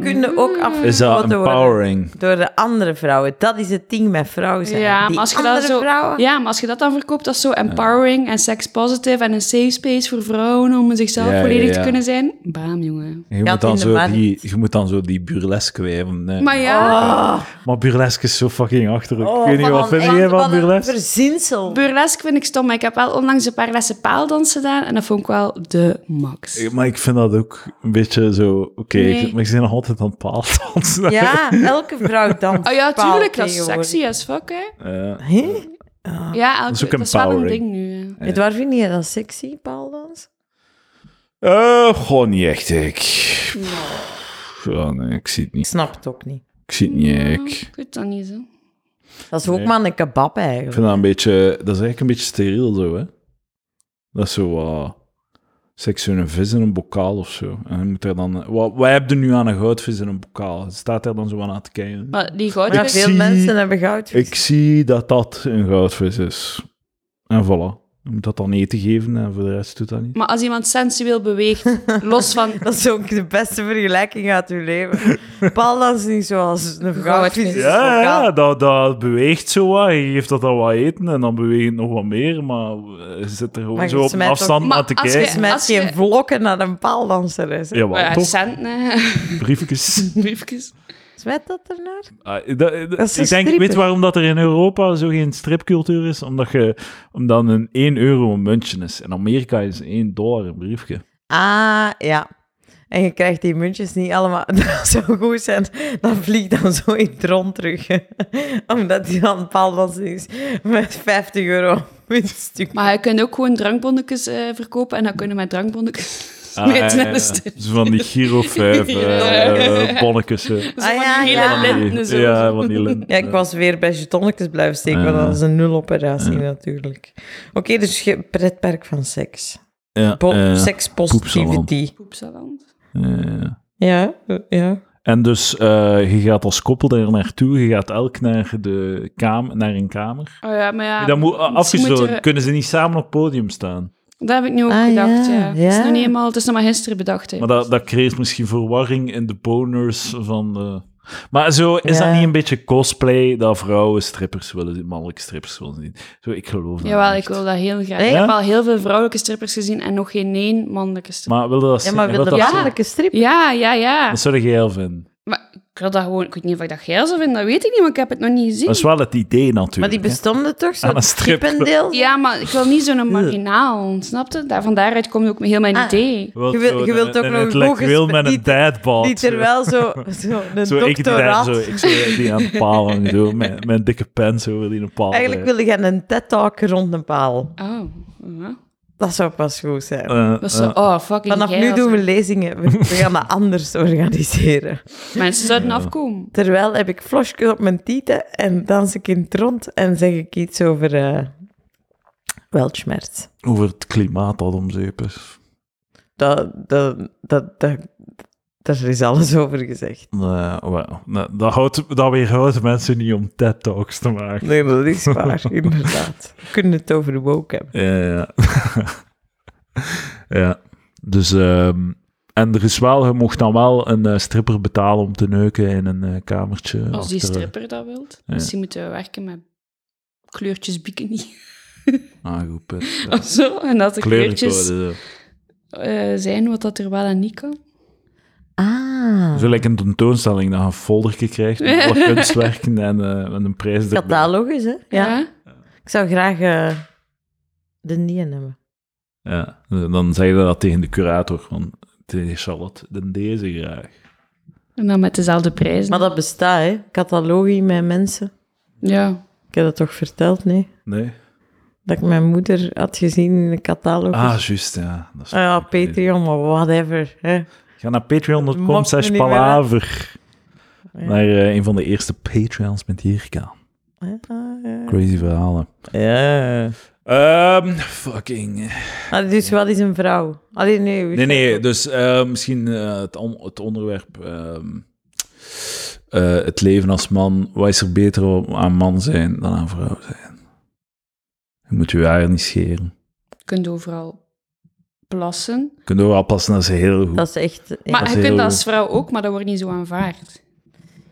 Speaker 1: kunnen
Speaker 3: Mm.
Speaker 1: ook afgesloten
Speaker 2: Is dat
Speaker 1: worden
Speaker 2: empowering?
Speaker 1: door de andere vrouwen. Dat is het ding met vrouwen zijn.
Speaker 3: Ja,
Speaker 1: Die
Speaker 3: maar als je
Speaker 1: andere
Speaker 3: dat zo,
Speaker 1: vrouwen...
Speaker 3: ja, maar als je dat dan verkoopt als zo empowering en sex positive en een safe space voor vrouwen om zichzelf
Speaker 2: Ja, ja,
Speaker 3: volledig
Speaker 2: ja.
Speaker 3: te kunnen zijn. Bam, jongen.
Speaker 2: Je
Speaker 1: Kat
Speaker 2: moet,
Speaker 1: in
Speaker 2: dan
Speaker 1: de
Speaker 2: zo
Speaker 1: markt.
Speaker 2: die, je moet dan zo die burlesque wijven. Nee.
Speaker 3: Maar ja,
Speaker 1: Oh,
Speaker 2: Maar burlesque is zo fucking achterlijk.
Speaker 1: oh,
Speaker 2: ik weet niet,
Speaker 1: wat
Speaker 2: wat
Speaker 1: een-
Speaker 2: vind jij
Speaker 1: wat
Speaker 2: van
Speaker 1: een
Speaker 2: burlesque?
Speaker 1: verzinsel.
Speaker 3: burlesque vind ik stom, maar ik heb wel onlangs een paar lessen paaldans gedaan en dat vond ik wel de max.
Speaker 2: Ik- Maar ik vind dat ook een beetje zo... Oké, ik-
Speaker 3: Nee.
Speaker 2: maar ik ben nog altijd aan het paaldansen.
Speaker 1: Ja, elke vrouw danst
Speaker 3: Oh ja,
Speaker 1: paal
Speaker 3: tuurlijk, dat is
Speaker 1: tegenwoordig. Ah.
Speaker 3: sexy as fuck, hè.
Speaker 2: Ja.
Speaker 1: Hé?
Speaker 3: Ja, elke,
Speaker 2: Dat
Speaker 3: dat
Speaker 2: is
Speaker 3: is,
Speaker 2: ook
Speaker 3: wel een
Speaker 2: empowering.
Speaker 3: ding nu. hè.
Speaker 2: Ja.
Speaker 1: Edouard, vind je dat sexy, paaldans?
Speaker 2: Eh, gewoon niet echt, ik. Ja, nee, ik zie het
Speaker 1: Ik
Speaker 2: niet.
Speaker 1: snap het ook niet.
Speaker 2: Ik zie het niet,
Speaker 3: Nou,
Speaker 2: ik.
Speaker 3: Ik weet dat niet, zo.
Speaker 1: Dat is ook
Speaker 2: Nee.
Speaker 1: maar een kebab
Speaker 2: Ik
Speaker 1: eigenlijk.
Speaker 2: vind dat een beetje... Dat is eigenlijk een beetje steriel, zo, hè. Dat is zo wat... Seks in een vis in een bokaal of zo. En dan moet er dan... Wat, wat heb je nu aan een goudvis in een bokaal? Het staat er dan zo aan aan te kijken.
Speaker 3: Maar die
Speaker 1: Maar
Speaker 2: Ik
Speaker 3: goudvis...
Speaker 1: veel
Speaker 2: zie-
Speaker 1: mensen hebben goudvis.
Speaker 2: Ik zie dat dat een goudvis is. En voilà. Je moet dat dan eten geven en voor de rest doet dat niet.
Speaker 3: Maar als iemand sensueel beweegt, los van...
Speaker 1: Dat is ook de beste vergelijking uit uw leven. Paaldans is niet zoals een goudvis. is
Speaker 2: Ja,
Speaker 3: dus
Speaker 1: lokaal.
Speaker 2: ja dat, dat beweegt zo wat. Je geeft dat dan wat eten en dan beweegt het nog wat meer. Maar eh, je zit er gewoon
Speaker 1: Maar je
Speaker 2: zo op een
Speaker 1: smijt
Speaker 2: afstand
Speaker 3: ook-
Speaker 2: naar
Speaker 3: Maar
Speaker 2: te
Speaker 3: als
Speaker 2: kijken.
Speaker 1: Dus met
Speaker 3: Als je-
Speaker 1: geen vlokken naar een paaldanser is. hè.
Speaker 2: Ja, maar
Speaker 3: Ja,
Speaker 2: toch?
Speaker 3: Eh, centen, hè.
Speaker 2: Briefjes.
Speaker 3: Briefjes.
Speaker 1: Smet dat ernaar?
Speaker 2: Ah, dat- dat-
Speaker 1: Dat is een
Speaker 2: ik denk,
Speaker 1: stripper.
Speaker 2: weet je waarom dat er in Europa zo geen stripcultuur is? Omdat, je, omdat een 1 euro een muntje is. In Amerika is 1 dollar een briefje.
Speaker 1: Ah, ja. En je krijgt die muntjes niet allemaal. Dat zou goed zijn. Dan vliegt dan zo in het rond terug. hè. Omdat die dan paaldans is met 50 euro muntstuk.
Speaker 3: Maar je kunt ook gewoon drankbonnetjes eh, verkopen en dan kunnen met drankbonnetjes
Speaker 2: Ah,
Speaker 3: met
Speaker 2: ja, ja, ja. Zo van die Giro 5
Speaker 3: Ja.
Speaker 2: eh, eh, bonnetjes. eh.
Speaker 1: Ah, ja,
Speaker 3: hele
Speaker 1: ja.
Speaker 3: lenten zo.
Speaker 2: Ja, van die lint.
Speaker 1: Ja, ik was weer bij jetonnetjes blijven steken, want dat is een nuloperatie natuurlijk. Oké, dus je pretpark van seks.
Speaker 2: Ja,
Speaker 1: Po-
Speaker 2: eh,
Speaker 1: Sekspositivity.
Speaker 3: Poepsaland.
Speaker 2: eh.
Speaker 1: Ja, eh, ja.
Speaker 2: En dus eh, je gaat als koppel daar naartoe, je gaat elk naar, de kamer, naar een kamer.
Speaker 3: Oh ja, maar ja.
Speaker 2: dat moet ah,
Speaker 3: misschien
Speaker 2: afgesloten,
Speaker 3: moet er-
Speaker 2: kunnen ze niet samen op het podium staan.
Speaker 3: dat heb ik nu ook
Speaker 1: Ah,
Speaker 3: gedacht,
Speaker 1: ja,
Speaker 3: ja. Het, is
Speaker 1: ja.
Speaker 3: nog niet helemaal, het is nog maar gisteren bedacht, hè.
Speaker 2: Maar dat, dat creëert misschien verwarring in de boners van de... Maar zo, is
Speaker 1: Ja.
Speaker 2: dat niet een beetje cosplay dat vrouwen strippers willen zien, mannelijke strippers willen zien? Zo, ik geloof dat
Speaker 3: Jawel,
Speaker 2: niet.
Speaker 3: ik wil dat heel graag.
Speaker 1: Ja?
Speaker 3: Ik heb al heel veel vrouwelijke strippers gezien en nog geen één mannelijke stripper.
Speaker 2: Maar wilde dat
Speaker 1: Ja,
Speaker 2: zien?
Speaker 1: maar
Speaker 2: Je
Speaker 1: wil
Speaker 2: wilt
Speaker 1: de
Speaker 2: dat,
Speaker 1: waarlijke strip?
Speaker 3: Ja, ja, ja.
Speaker 2: dat zou je heel vinden.
Speaker 3: Maar ik wil dat gewoon... Ik weet niet of ik dat geil zou vinden, dat weet ik niet, want ik heb het nog niet gezien.
Speaker 2: Dat is wel het idee
Speaker 1: Maar
Speaker 2: natuurlijk.
Speaker 1: die
Speaker 2: hè.
Speaker 1: bestonden toch?
Speaker 2: Aan
Speaker 1: Zo'n
Speaker 2: Ah, een strip.
Speaker 1: kippendeel?
Speaker 3: Ja, maar ik wil niet zo'n marginaal, snap je? Daar, van daaruit komt ook heel mijn
Speaker 1: Ah.
Speaker 3: idee.
Speaker 2: wilt
Speaker 1: Je wil-
Speaker 2: zo
Speaker 1: je
Speaker 2: een-
Speaker 1: wilt ook
Speaker 2: een
Speaker 1: nog een goed
Speaker 2: intellectueel
Speaker 1: gesprek-
Speaker 2: met een
Speaker 1: die-
Speaker 2: deadball.
Speaker 1: Die terwijl zo, zo een
Speaker 2: Zo, ik die daar
Speaker 1: doctoraat...
Speaker 2: zo, ik zo die aan de paal hangen, zo, met, met een dikke pen zo wil die een paal. eh.
Speaker 1: Eigenlijk wilde je een TED-talk rond een paal.
Speaker 3: Oh, ja.
Speaker 1: Dat zou pas goed zijn.
Speaker 2: Eh,
Speaker 3: Dat is
Speaker 2: eh,
Speaker 3: zo- oh, fucking
Speaker 1: Vanaf
Speaker 3: geil,
Speaker 1: nu
Speaker 3: zo.
Speaker 1: doen we lezingen. We, we gaan dat anders organiseren.
Speaker 3: Mensen zouden afkomen.
Speaker 1: Terwijl heb ik flosjes op mijn tieten en dans ik in het rond en zeg ik iets over eh weltschmerz.
Speaker 2: eh, over het klimaat dat om zeep is.
Speaker 1: Dat, dat, dat, dat, daar is alles over gezegd.
Speaker 2: Eh, wel, nee, dat, houdt, dat weerhoudt mensen niet om TED-talks te maken.
Speaker 1: Nee, dat is waar, inderdaad. We kunnen het over de woke hebben.
Speaker 2: Ja, ja. ja. Dus, ehm, en er is wel, je mocht dan wel een eh, stripper betalen om te neuken in een eh, kamertje.
Speaker 3: Als die
Speaker 2: achter-
Speaker 3: stripper dat wilt. Misschien moeten we werken met kleurtjes bikini.
Speaker 2: Ah, goed punt. Ja.
Speaker 3: Of zo. En dat de kleurtjes
Speaker 2: Kleurencode, zo.
Speaker 3: eh, zijn wat dat er wel en niet kan.
Speaker 1: Ah.
Speaker 2: Zo lijkt een tentoonstelling dat je een folderje krijgt met alle kunstwerken en, eh, en een prijs erbij.
Speaker 1: Catalogus, hè? Ja. Ik zou graag eh, de dien hebben.
Speaker 2: Ja, dan zeg je dat tegen de curator van, tegen Charlotte, dan deze graag.
Speaker 3: En dan met dezelfde prijs.
Speaker 1: Maar dat bestaat, hè? Catalogie met mensen.
Speaker 3: Ja.
Speaker 1: Ik heb dat toch verteld, nee?
Speaker 2: Nee?
Speaker 1: Dat ik mijn moeder had gezien in de catalogus.
Speaker 2: Ah, juist, ja. Dat is-
Speaker 1: Ah ja, Patreon, maar whatever. Hè?
Speaker 2: Ga naar patreon.com
Speaker 1: Mocht me
Speaker 2: slash
Speaker 1: niet meer, hè?
Speaker 2: palaver.
Speaker 1: Ja.
Speaker 2: Naar eh, een van de eerste Patreons met Jirka.
Speaker 1: Ah, ja.
Speaker 2: Crazy verhalen.
Speaker 1: Ja.
Speaker 2: Ehm, fucking...
Speaker 1: Ah, dus wel is een vrouw. Allee, nee. we-
Speaker 2: Nee, nee, dus eh, misschien eh, het, on- het onderwerp... ehm, eh, het leven als man. Wat is er beter om aan man zijn dan aan vrouw zijn? Je moet je haar niet scheren.
Speaker 3: Je kunt overal plassen.
Speaker 2: Kunnen we wel passen, dat is heel goed.
Speaker 1: Dat is echt... ja.
Speaker 3: Maar
Speaker 2: Dat is
Speaker 3: je
Speaker 2: heel-
Speaker 3: kunt dat als vrouw ook, maar dat wordt niet zo aanvaard.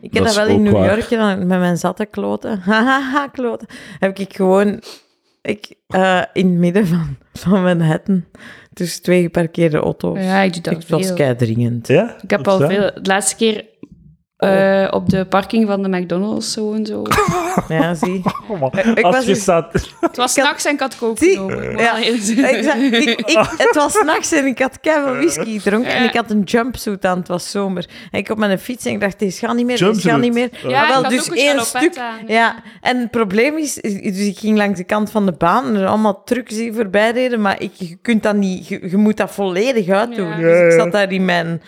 Speaker 1: Ik heb
Speaker 2: Dat
Speaker 1: dat,
Speaker 2: is
Speaker 1: wel in New
Speaker 2: ook waar.
Speaker 1: York gedaan met mijn zatte kloten. Hahaha, kloten. Heb ik gewoon ik, eh, in het midden van, van Manhattan tussen twee geparkeerde auto's.
Speaker 3: Ja, ik doe dat
Speaker 1: ik was
Speaker 3: veel.
Speaker 1: keidringend.
Speaker 2: Ja?
Speaker 3: Ik heb al
Speaker 2: Opstaan?
Speaker 3: veel... De laatste keer
Speaker 1: Oh,
Speaker 3: eh, op de parking van de McDonald's zo en zo.
Speaker 1: Ja, zie.
Speaker 2: Oh, man.
Speaker 1: Eh, Ik
Speaker 2: Als
Speaker 1: was
Speaker 2: je
Speaker 1: in-
Speaker 2: staat...
Speaker 3: Het was
Speaker 1: had-
Speaker 3: s'nachts en ik had kook
Speaker 1: Zie-
Speaker 3: genomen. ik moet
Speaker 1: Ja,
Speaker 3: wel eerlijk zijn.
Speaker 1: Eh, Ik zag- ik, ik, het was 's nachts en ik had keihard whisky gedronken en ik had een jumpsuit aan, het was zomer. En ik op mijn fiets en ik dacht, deze gaat niet meer, deze gaat
Speaker 2: Jumpsuit?
Speaker 1: niet meer.
Speaker 2: Ja,
Speaker 1: Ah,
Speaker 3: ik
Speaker 1: wel,
Speaker 3: had
Speaker 1: dus
Speaker 3: ook een
Speaker 1: één
Speaker 3: salopet
Speaker 1: stuk.
Speaker 3: aan, ja.
Speaker 1: ja, en het probleem is, is- dus ik ging langs de kant van de baan en er allemaal trucks die voorbij reden, maar ik, je kunt dat niet, je, je moet dat volledig uitdoen.
Speaker 3: Ja.
Speaker 1: Dus
Speaker 2: Ja,
Speaker 1: ik
Speaker 2: ja.
Speaker 1: zat daar in mijn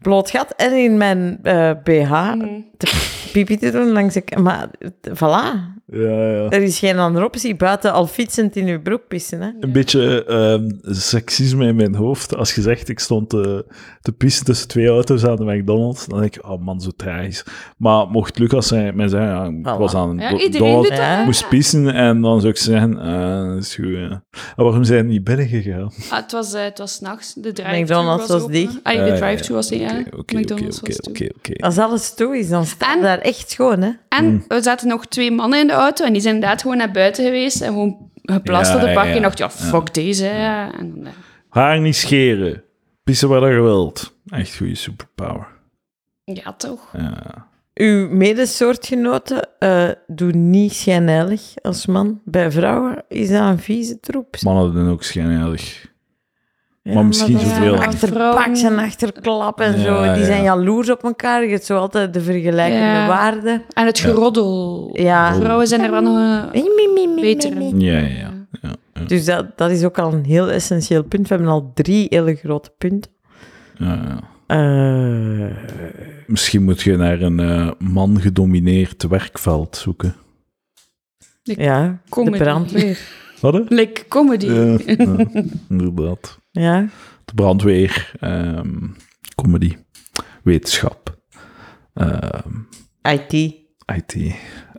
Speaker 1: bloot gat en in mijn eh, BH
Speaker 3: Mhm.
Speaker 1: te pipi te doen langs de k- Maar eh, voilà,
Speaker 2: Ja, ja.
Speaker 1: er is geen andere optie buiten al fietsend in je broek pissen. Hè.
Speaker 2: Een beetje ehm, seksisme in mijn hoofd. Als je zegt, ik stond te, te pissen tussen twee auto's aan de McDonald's, dan denk ik, oh man, zo tragisch. Maar mocht Lucas zijn, mij zeggen, ja, ik
Speaker 1: Voilà.
Speaker 2: was aan
Speaker 3: Ja,
Speaker 2: do-
Speaker 3: iedereen
Speaker 2: Donald,
Speaker 3: doet dat.
Speaker 1: Ja.
Speaker 3: hè.
Speaker 2: moest pissen, en dan zou ik zeggen, eh, dat is goed, ja. Maar waarom zijn die niet binnengegaan?
Speaker 3: Ah, het was, eh, het was 's nachts. De drive-thru
Speaker 1: McDonald's was
Speaker 3: open.
Speaker 1: dicht.
Speaker 3: Ah,
Speaker 2: Ah,
Speaker 3: de
Speaker 2: ja,
Speaker 3: drive-thru
Speaker 2: ja.
Speaker 3: was dicht,
Speaker 2: Oké,
Speaker 3: ja.
Speaker 2: oké, oké,
Speaker 3: McDonald's
Speaker 2: oké,
Speaker 3: was toe.
Speaker 2: oké, oké.
Speaker 1: Als alles toe is, dan staat
Speaker 3: En-
Speaker 1: daar echt schoon, hè?
Speaker 3: En
Speaker 2: Hm.
Speaker 3: er zaten nog twee mannen in de auto en die zijn inderdaad gewoon naar buiten geweest en gewoon geplast
Speaker 2: Ja,
Speaker 3: op de
Speaker 2: ja,
Speaker 3: parking.
Speaker 2: ja.
Speaker 3: En dacht, ja, fuck deze. hè. En dan, eh,
Speaker 2: Haar niet scheren. Pissen waar je wilt. Echt goede superpower.
Speaker 3: eh, ja, toch.
Speaker 2: Ja.
Speaker 1: Uw medesoortgenoten eh, doen niet schijnheilig als man. Bij vrouwen is dat een vieze troep.
Speaker 2: Mannen doen ook schijnheilig.
Speaker 1: Ja,
Speaker 2: maar misschien
Speaker 1: dat is
Speaker 2: zoveel.
Speaker 1: een Achterpaks en achterklap en zo.
Speaker 2: Ja,
Speaker 1: Die zijn
Speaker 2: ja.
Speaker 1: jaloers op elkaar. Je hebt zo altijd de vergelijkende
Speaker 3: Ja.
Speaker 1: waarden.
Speaker 3: En het geroddel.
Speaker 1: Ja.
Speaker 3: Vrouwen zijn er wel nog... eh, Betere.
Speaker 2: Ja, ja, ja. ja, ja,
Speaker 1: Dus dat, dat is ook al een heel essentieel punt. We hebben al drie hele grote punten.
Speaker 2: ja, ja.
Speaker 1: Eh,
Speaker 2: Misschien moet je naar een eh, man gedomineerd werkveld zoeken.
Speaker 1: ja, de
Speaker 3: Comedy.
Speaker 1: brandweer.
Speaker 2: Wat? hè?
Speaker 3: Like comedy.
Speaker 2: Ja, ja, inderdaad.
Speaker 1: Ja.
Speaker 2: De brandweer, ehm, comedy, wetenschap, ehm,
Speaker 1: IT.
Speaker 2: IT.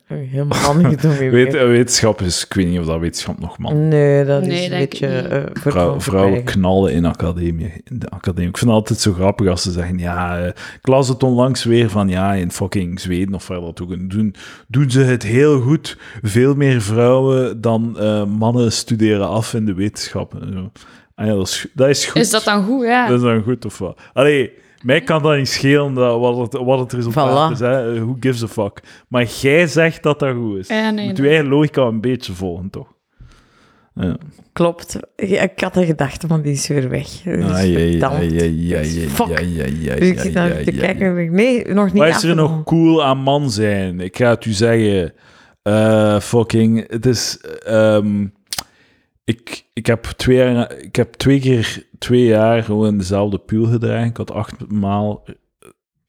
Speaker 1: Helemaal niet doen weer.
Speaker 2: Weet, eh, wetenschap is, ik weet niet of dat wetenschap nog man.
Speaker 1: Nee, dat
Speaker 3: Nee,
Speaker 1: is een
Speaker 3: denk ik
Speaker 1: beetje
Speaker 3: niet.
Speaker 1: eh, voor
Speaker 2: Vrou-
Speaker 1: het
Speaker 2: vrouwen
Speaker 1: overwegen.
Speaker 2: knallen in, academie, in de academie. Ik vind het altijd zo grappig als ze zeggen, ja, eh, ik las het onlangs weer van, ja, in fucking Zweden of waar dat ook, in doen, doen ze het heel goed. Veel meer vrouwen dan eh, mannen studeren af in de wetenschappen. en zo. Ah ja, dat is, dat is goed.
Speaker 3: Is dat dan goed, ja?
Speaker 2: Dat is dan goed of wat? Allee, mij kan dat niet schelen dat, wat, het, wat het resultaat
Speaker 1: Voilà.
Speaker 2: is. Hè? Eh, Who gives a fuck? Maar jij zegt dat dat goed is.
Speaker 3: Ja, nee,
Speaker 2: Moet
Speaker 3: nee.
Speaker 2: wij logica een beetje volgen, toch? Ja.
Speaker 1: Klopt. Ja, Ik had de gedachte van die is weer weg. Dus
Speaker 2: Ai, ai,
Speaker 1: verdampt.
Speaker 2: ai, ai, ai,
Speaker 1: Fuck.
Speaker 2: ai, ai, ai,
Speaker 1: Dus ik zit
Speaker 2: ai,
Speaker 1: naar
Speaker 2: ai,
Speaker 1: te
Speaker 2: ai.
Speaker 1: kijken en denk ik, nee, nog niet
Speaker 2: Wat is er nog
Speaker 1: afgenomen.
Speaker 2: cool aan man zijn? Ik ga het u zeggen. Eh, fucking, het is... ehm, ik, ik, heb twee jaar, ik heb twee keer twee jaar gewoon in dezelfde puul gedragen. Ik had acht, maal,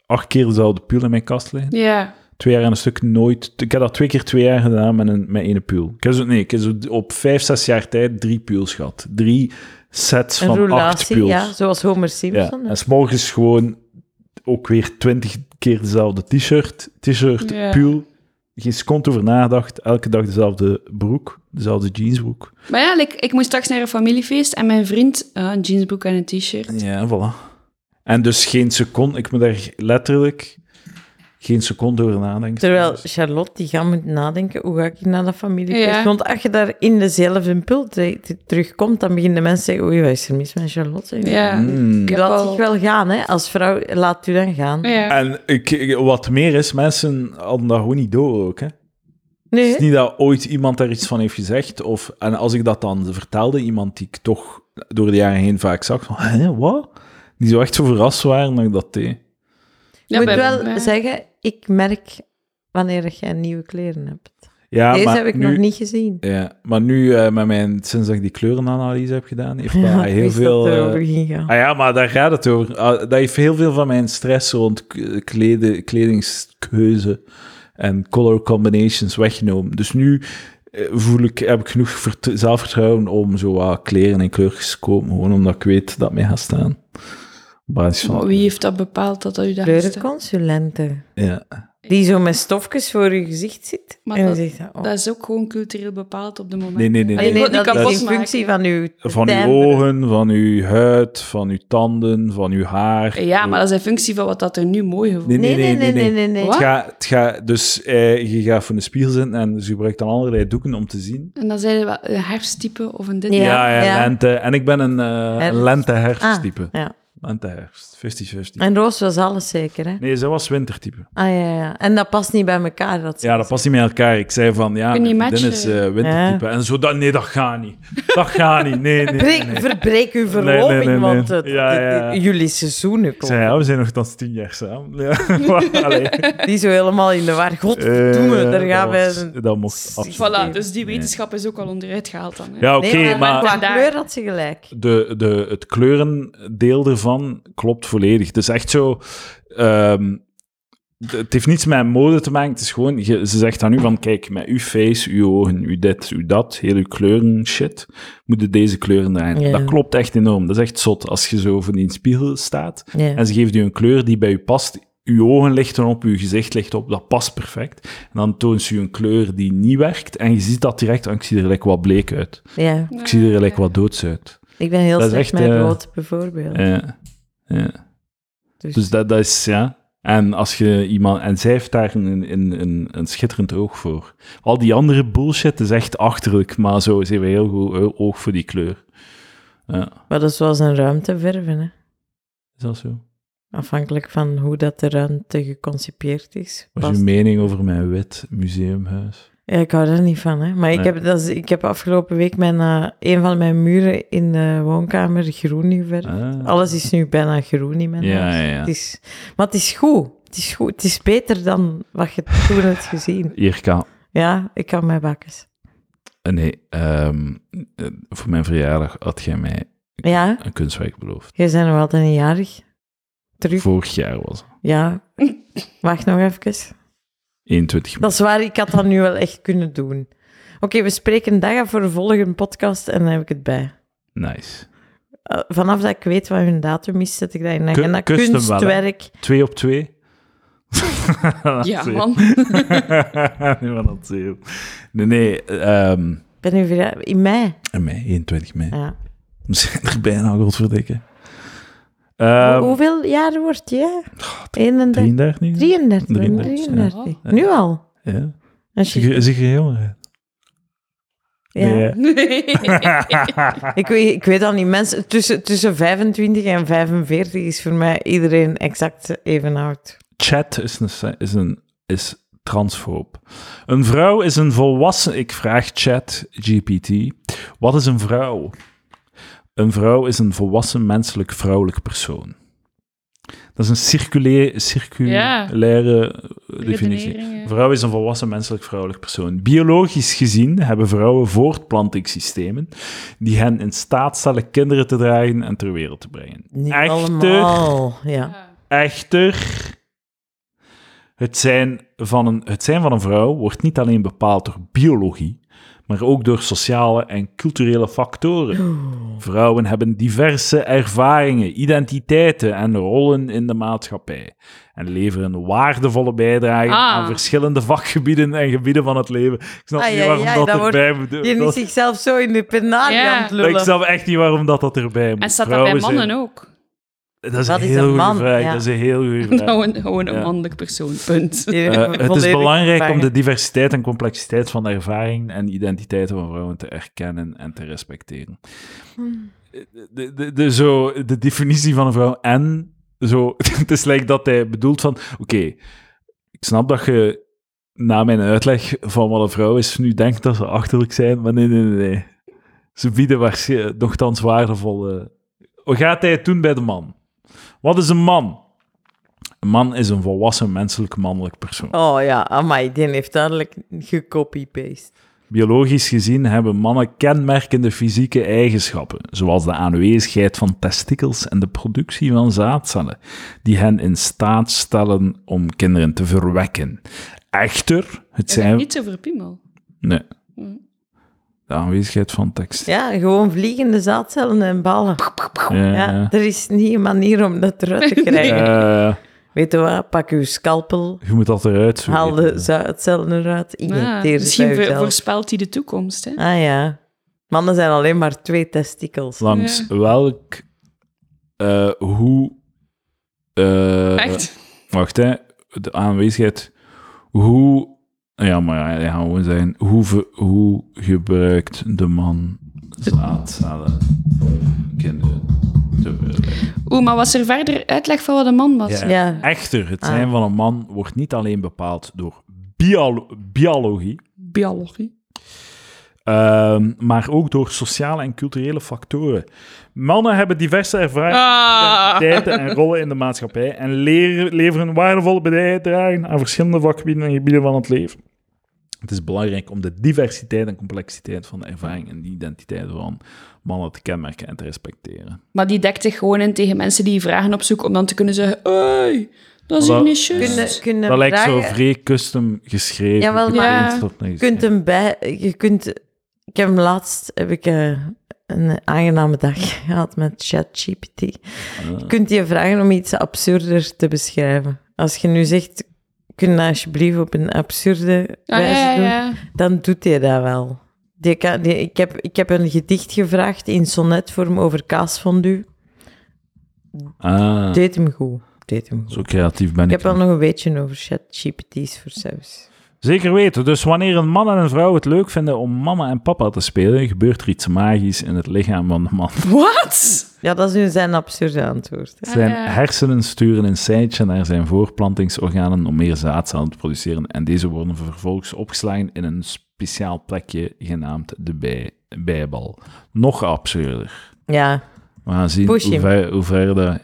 Speaker 2: acht keer dezelfde puul in mijn kast liggen.
Speaker 3: Ja.
Speaker 2: Twee jaar aan een stuk nooit... Ik heb dat twee keer twee jaar gedaan met, een, met één puul. Ik heb zo, nee, ik heb zo op vijf, zes jaar tijd drie puls gehad. Drie sets
Speaker 1: Een
Speaker 2: van acht
Speaker 1: roulatie,
Speaker 2: puls.
Speaker 1: ja, zoals Homer
Speaker 2: Ja,
Speaker 3: nou?
Speaker 1: Simpson. hè.
Speaker 2: en s'morgens gewoon ook weer twintig keer dezelfde t-shirt, t-shirt,
Speaker 3: Ja.
Speaker 2: puul. Geen seconde over nagedacht. Elke dag dezelfde broek, dezelfde jeansbroek.
Speaker 3: Maar ja, like, ik moest straks naar een familiefeest en mijn vriend... ah, een jeansbroek en een t-shirt.
Speaker 2: Ja, voilà. En dus geen seconde, ik moet daar letterlijk geen seconde over nadenken.
Speaker 1: Terwijl Charlotte, die gaat moeten nadenken, hoe ga ik naar dat familiefeest?
Speaker 3: Ja.
Speaker 1: Want als je daar in dezelfde pul tre- te- terugkomt, dan beginnen mensen te zeggen, oei, wat is er mis met Charlotte? zeg.
Speaker 3: Ja.
Speaker 2: Mm.
Speaker 3: Ik heb
Speaker 1: Laat
Speaker 3: al-
Speaker 1: zich wel gaan, hè. Als vrouw, laat u dan gaan.
Speaker 3: Ja.
Speaker 2: En ik, ik- wat meer is, mensen hadden dat gewoon niet door ook. Hè?
Speaker 1: Nee,
Speaker 2: Het is niet dat ooit iemand daar iets van heeft gezegd. Of, en als ik dat dan vertelde, iemand die ik toch door de jaren heen vaak zag, van, hè, wat? Die zo echt zo verrast waren dat ik dat deed.
Speaker 3: Ja,
Speaker 1: ik moet
Speaker 3: bij-
Speaker 1: wel
Speaker 3: ja.
Speaker 1: zeggen, ik merk wanneer jij nieuwe kleren hebt.
Speaker 2: Ja,
Speaker 1: Deze
Speaker 2: maar
Speaker 1: heb ik
Speaker 2: nu,
Speaker 1: nog niet gezien.
Speaker 2: Ja, maar nu, eh, met mijn, sinds dat ik die kleurenanalyse heb gedaan, heeft dat
Speaker 3: Ah,
Speaker 1: Ja, ik
Speaker 2: heel
Speaker 1: wist
Speaker 2: veel...
Speaker 1: Dat er
Speaker 2: eh,
Speaker 1: over ging gaan.
Speaker 2: ah ja, maar daar gaat het over. Ah, dat heeft heel veel van mijn stress rond k- kleden, kledingskeuze en color combinations weggenomen. Dus nu eh, voel ik, heb ik genoeg vert- zelfvertrouwen om zo wat kleren en kleurtjes te kopen, gewoon omdat ik weet dat mij gaat staan. Op basis van... dus-
Speaker 3: Maar wie heeft dat bepaald dat dat u daar staat?
Speaker 1: Kleurenconsulenten.
Speaker 2: Ja.
Speaker 1: Ah, Die zo met stofjes voor je gezicht zit.
Speaker 3: Maar
Speaker 1: en dan
Speaker 3: dat-
Speaker 1: zegt dat, oh.
Speaker 3: Dat is ook gewoon cultureel bepaald op de moment.
Speaker 2: Nee, nee, nee,
Speaker 3: Allee,
Speaker 2: nee.
Speaker 3: je moet
Speaker 1: dat
Speaker 3: niet kapot
Speaker 1: is in
Speaker 3: maken.
Speaker 1: functie van uw
Speaker 2: Van uw
Speaker 1: timbre.
Speaker 2: ogen, van uw huid, van uw tanden, van uw haar.
Speaker 3: Ja, maar dat is in functie van wat dat er nu mooi gevoelt.
Speaker 2: Nee,
Speaker 1: Nee, nee, nee, nee, nee. nee.
Speaker 3: Wat?
Speaker 2: Het gaat, het gaat, dus eh, je gaat voor een spiegel zitten en ze gebruikt dan allerlei doeken om te zien.
Speaker 3: En dan zijn er wel een herfsttype of een dit.
Speaker 1: Ja,
Speaker 2: Ja, ja,
Speaker 1: ja.
Speaker 2: lente. En ik ben een, eh
Speaker 1: Herfst.
Speaker 2: een lente-herfsttype.
Speaker 1: Ah, ja.
Speaker 2: Lente-herfst, 50-50.
Speaker 1: En Roos was alles zeker, hè?
Speaker 2: Nee, ze was wintertype.
Speaker 1: Ah ja, ja. En dat past niet bij elkaar. Dat
Speaker 2: Ja, dat past niet met elkaar. Ik zei van, ja,
Speaker 3: Kun je
Speaker 2: mijn vriendin is
Speaker 3: matchen?
Speaker 2: eh, wintertype. En zo, dat, nee, dat gaat niet. Dat gaat niet, nee, nee. nee.
Speaker 1: Breek, verbreek uw verloving,
Speaker 2: nee, nee.
Speaker 1: want het,
Speaker 2: Ja,
Speaker 1: het-
Speaker 2: ja.
Speaker 1: het- jullie seizoenen
Speaker 2: Ik zei,
Speaker 1: komen.
Speaker 2: ja, we zijn nog tot tien jaar samen. Ja, maar, allee.
Speaker 1: Die zo helemaal in de war. Godverdomme,
Speaker 2: Eh,
Speaker 1: daar gaan
Speaker 2: dat was-
Speaker 1: wij...
Speaker 2: Dat mocht absoluut.
Speaker 3: Voilà, dus die wetenschap is ook al onderuit gehaald dan. Hè.
Speaker 2: Ja, oké,
Speaker 1: nee, maar,
Speaker 2: maar...
Speaker 1: qua
Speaker 3: Vandaar.
Speaker 1: kleur had ze gelijk.
Speaker 2: de, de, het kleurendeel ervan klopt volledig. Het is echt zo. ehm, d- het heeft niets met mode te maken. Het is gewoon, je- ze zegt aan u van, kijk, met uw face, uw ogen, uw dit, uw dat, heel uw kleuren, shit, moeten deze kleuren draaien.
Speaker 1: Ja.
Speaker 2: Dat klopt echt enorm. Dat is echt zot. Als je zo voor die spiegel staat
Speaker 1: Ja.
Speaker 2: en ze geeft u een kleur die bij u past, uw ogen lichten op, uw gezicht licht op, dat past perfect. En dan toont ze u een kleur die niet werkt en je ziet dat direct, en ik zie er lekker wat bleek uit.
Speaker 1: Ja,
Speaker 2: Ik zie er lekker wat doods uit.
Speaker 1: ik ben heel
Speaker 2: Dat is
Speaker 1: slecht
Speaker 2: echt,
Speaker 1: met
Speaker 2: eh,
Speaker 1: rood, bijvoorbeeld.
Speaker 2: Ja. ja.
Speaker 1: Dus-
Speaker 2: Dus, dat, dat is, ja. En als je iemand, en zij heeft daar een, een, een, een schitterend oog voor. Al die andere bullshit is echt achterlijk, maar zo ze hebben heel goed o- oog voor die kleur.
Speaker 1: Maar dat is zoals een ruimte verven, hè.
Speaker 2: Is dat zo?
Speaker 1: Afhankelijk van hoe dat de ruimte geconcipieerd is.
Speaker 2: Wat is
Speaker 1: past
Speaker 2: uw mening over mijn wit museumhuis?
Speaker 1: Ja, ik hou er niet van, hè. Maar ik,
Speaker 2: Nee.
Speaker 1: heb, dat is- ik heb afgelopen week mijn, eh, een van mijn muren in de woonkamer groen geverfd.
Speaker 2: Ah.
Speaker 1: Alles is nu bijna groen in mijn
Speaker 2: Ja,
Speaker 1: huis.
Speaker 2: ja, ja.
Speaker 1: Het is, maar het is goed. Het is goed. Het is beter dan wat je toen hebt gezien.
Speaker 2: Irka,
Speaker 1: Ja, ik kan mij bakken.
Speaker 2: eh, nee, ehm, eh, voor mijn verjaardag had jij mij
Speaker 1: Ja,
Speaker 2: een kunstwerk beloofd.
Speaker 1: jij bent nog altijd een jarig. Terug.
Speaker 2: Vorig jaar was het.
Speaker 1: Ja. Wacht nog even.
Speaker 2: 21
Speaker 1: Dat is waar, ik had dat nu wel echt kunnen doen. Oké, we spreken een dag af voor de volgende podcast en dan heb ik het bij.
Speaker 2: Nice.
Speaker 1: Eh, vanaf dat ik weet wat hun datum is, zet ik dat in de
Speaker 2: Ku-
Speaker 1: agenda.
Speaker 2: kust hem wel, hè?
Speaker 1: Kunstwerk.
Speaker 2: Twee op twee.
Speaker 3: Ja,
Speaker 2: Zeer.
Speaker 3: man.
Speaker 2: nee, maar dat is heel- Nee, nee. ehm,
Speaker 1: ben nu weer eh, in mei.
Speaker 2: in mei, 21 mei.
Speaker 1: Ja.
Speaker 2: We zijn er bijna, godverdikke.
Speaker 1: Hoe-
Speaker 2: Uh,
Speaker 1: hoeveel jaar wordt je?
Speaker 2: Oh,
Speaker 1: 31.
Speaker 2: 33 nu?
Speaker 1: 33.
Speaker 2: 33,
Speaker 1: 33.
Speaker 2: ja.
Speaker 1: Nu al.
Speaker 2: Ja.
Speaker 1: Als je-
Speaker 2: Zie je- zie je heel erg.
Speaker 1: ja.
Speaker 2: Nee,
Speaker 3: Nee.
Speaker 1: Ik, weet, ik weet al niet, mensen tussen, tussen 25 en 45 is voor mij iedereen exact even oud.
Speaker 2: Chat is, een, se- is, een, is transfoob. Een vrouw is een volwassen... Ik vraag chat GPT. Wat is een vrouw? Een vrouw is een volwassen menselijk vrouwelijk persoon. Dat is een circulaire, circulaire eh, definitie.
Speaker 3: Redeneringen.
Speaker 2: Een vrouw is een volwassen menselijk vrouwelijk persoon. Biologisch gezien hebben vrouwen voortplantingssystemen die hen in staat stellen kinderen te dragen en ter wereld te brengen.
Speaker 1: Niet
Speaker 2: Echter.
Speaker 1: allemaal. Ja.
Speaker 2: Echter, het zijn, van een, het zijn van een vrouw wordt niet alleen bepaald door biologie, maar ook door sociale en culturele factoren.
Speaker 3: Oh.
Speaker 2: Vrouwen hebben diverse ervaringen, identiteiten en rollen in de maatschappij en leveren een waardevolle bijdrage
Speaker 3: Ah.
Speaker 2: aan verschillende vakgebieden en gebieden van het leven. Ik snap
Speaker 1: Ai,
Speaker 2: niet
Speaker 1: ai,
Speaker 2: waarom
Speaker 1: ai,
Speaker 2: dat,
Speaker 1: dat wordt-
Speaker 2: erbij moet.
Speaker 1: Je
Speaker 2: dat-
Speaker 1: is zichzelf zo in de penarie
Speaker 3: Ja.
Speaker 1: aan het
Speaker 2: ik
Speaker 1: lullen.
Speaker 2: snap echt niet waarom dat, dat erbij moet.
Speaker 3: En staat dat bij
Speaker 2: Vrouwen
Speaker 3: mannen
Speaker 2: zijn-
Speaker 3: ook?
Speaker 2: Dat is
Speaker 1: Wat
Speaker 2: een
Speaker 1: is
Speaker 2: heel
Speaker 1: een
Speaker 2: goede
Speaker 1: man?
Speaker 2: vraag.
Speaker 1: Ja.
Speaker 2: Dat is een heel goede vraag.
Speaker 3: Gewoon, gewoon een
Speaker 2: Ja.
Speaker 3: mannelijk persoon, punt.
Speaker 1: Die-
Speaker 2: Eh, het is
Speaker 1: volledig
Speaker 2: belangrijk om de
Speaker 1: vervangen.
Speaker 2: diversiteit en complexiteit van de ervaring en identiteiten van vrouwen te erkennen en te respecteren. De, de, de, zo, de definitie van een vrouw en zo, het is lijkt dat hij bedoelt van, oké, ik snap dat je na mijn uitleg van wat een vrouw is nu denkt dat ze achterlijk zijn, maar nee, nee, nee. nee. Ze bieden waarschijnlijk nogthans waardevolle... Hoe gaat hij het doen bij de man? Wat is een man? Een man is een volwassen menselijk mannelijk persoon.
Speaker 1: Oh ja, amai, die heeft duidelijk gecopy-paste.
Speaker 2: Biologisch gezien hebben mannen kenmerkende fysieke eigenschappen, zoals de aanwezigheid van testikels en de productie van zaadcellen, die hen in staat stellen om kinderen te verwekken. Echter, het
Speaker 3: Is het
Speaker 2: zijn...
Speaker 3: niet over piemel?
Speaker 2: Nee. De aanwezigheid van tekst.
Speaker 1: Ja, gewoon vliegende zaadcellen en ballen.
Speaker 2: Ja,
Speaker 1: Ja,
Speaker 2: ja.
Speaker 1: er is niet een manier om dat eruit te krijgen.
Speaker 2: Eh,
Speaker 1: Weet je wat, pak uw scalpel,
Speaker 2: Je moet dat eruit zoeken.
Speaker 1: haal de, zu- het cellen eruit,
Speaker 3: Ja,
Speaker 1: injecteer het bij
Speaker 3: Ah, misschien vo-
Speaker 1: uzelf.
Speaker 3: voorspelt hij de toekomst. Hè?
Speaker 1: Ah ja. Mannen zijn alleen maar twee testikels.
Speaker 2: Langs
Speaker 3: Ja.
Speaker 2: welk... eh, hoe... eh,
Speaker 3: Echt?
Speaker 2: Wacht, hè. De aanwezigheid. Hoe... Ja, maar ja, ja, gaan we gewoon zijn. Hoe, ver- hoe gebruikt de man zaadcellen om kinderen te bereiken?
Speaker 3: Oeh, maar was er verder uitleg van wat een man was?
Speaker 2: Ja.
Speaker 1: Ja.
Speaker 2: Echter, het
Speaker 1: Ah.
Speaker 2: zijn van een man wordt niet alleen bepaald door biolo- biologie,
Speaker 3: Biologie.
Speaker 2: ehm, maar ook door sociale en culturele factoren. Mannen hebben diverse ervaringen
Speaker 3: Ah.
Speaker 2: identiteiten en rollen in de maatschappij en leren, leveren waardevolle bijdragen aan verschillende vakgebieden en gebieden van het leven. Het is belangrijk om de diversiteit en complexiteit van de ervaring en de identiteit van mannen te kenmerken en te respecteren.
Speaker 3: Maar die dekt zich gewoon in tegen mensen die vragen opzoeken om dan te kunnen zeggen: Hey, dat is
Speaker 2: Maar
Speaker 3: hier
Speaker 2: dat-
Speaker 3: niet juist.
Speaker 1: Kunnen, kunnen
Speaker 2: dat lijkt zo
Speaker 1: vragen-
Speaker 2: vrij custom geschreven.
Speaker 1: Jawel,
Speaker 3: maar-
Speaker 2: geprint op een
Speaker 1: Je kunt hem bij... Je kunt... Ik heb hem laatst... Heb ik eh, een aangename dag gehad met ChatGPT.
Speaker 3: Ah.
Speaker 1: Je kunt je vragen om iets absurder te beschrijven. Als je nu zegt... Kun je dat alsjeblieft op een absurde
Speaker 3: Ah, Ja,
Speaker 1: wijze
Speaker 3: ja,
Speaker 1: doen?
Speaker 3: ja.
Speaker 1: dan doet hij dat wel. Die kan- die- ik, heb, ik heb een gedicht gevraagd in sonnetvorm over kaasfondue.
Speaker 2: Ah,
Speaker 1: Deed hem goed. Deed hem goed.
Speaker 2: zo creatief ben
Speaker 1: Ik
Speaker 2: ik.
Speaker 1: heb wel
Speaker 2: niet.
Speaker 1: nog een beetje over ChatGPT's voor saus.
Speaker 2: Zeker weten. Dus wanneer een man en een vrouw het leuk vinden om mama en papa te spelen, gebeurt er iets magisch in het lichaam van de man.
Speaker 3: Ah, Wat?
Speaker 1: Ja, dat is nu zijn absurde antwoord. hè.
Speaker 2: Zijn
Speaker 3: Ah, ja.
Speaker 2: hersenen sturen een seintje naar zijn voorplantingsorganen om meer zaadcellen te produceren. En deze worden vervolgens opgeslagen in een speciaal plekje genaamd de bij, bijbal. Nog absurder.
Speaker 1: Ja,
Speaker 2: We gaan zien
Speaker 1: Push
Speaker 2: hoe
Speaker 1: him.
Speaker 2: ver, hoe ver dat...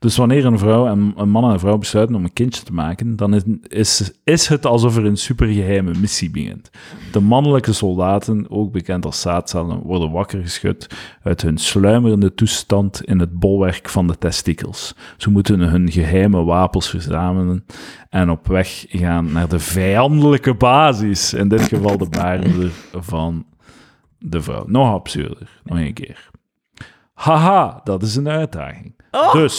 Speaker 2: Dus wanneer een, vrouw en, een man en een vrouw besluiten om een kindje te maken, dan is, is, is het alsof er een supergeheime missie begint. De mannelijke soldaten, ook bekend als zaadcellen, worden wakker geschud uit hun sluimerende toestand in het bolwerk van de testikels. Ze moeten hun geheime wapens verzamelen en op weg gaan naar de vijandelijke basis, in dit geval de baarmoeder van de vrouw. Nog absurder, nog een keer. Haha, dat is een uitdaging. Dus,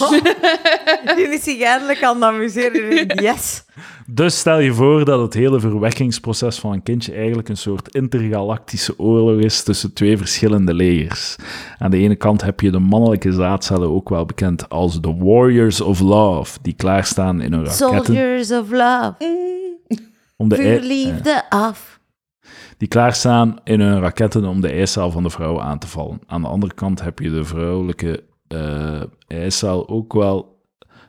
Speaker 1: jullie zich eindelijk aan het amuseren. Jullie- Yes!
Speaker 2: dus stel je voor dat het hele verwekkingsproces van een kindje eigenlijk een soort intergalactische oorlog is tussen twee verschillende legers. Aan de ene kant heb je de mannelijke zaadcellen, ook wel bekend als de Warriors of Love, die klaarstaan in hun raketten
Speaker 1: Soldiers of love,
Speaker 2: om de
Speaker 1: vuur
Speaker 2: ei-
Speaker 1: liefde af.
Speaker 2: die klaarstaan in hun raketten om de eicel van de vrouw aan te vallen. Aan de andere kant heb je de vrouwelijke eh eicel, ook wel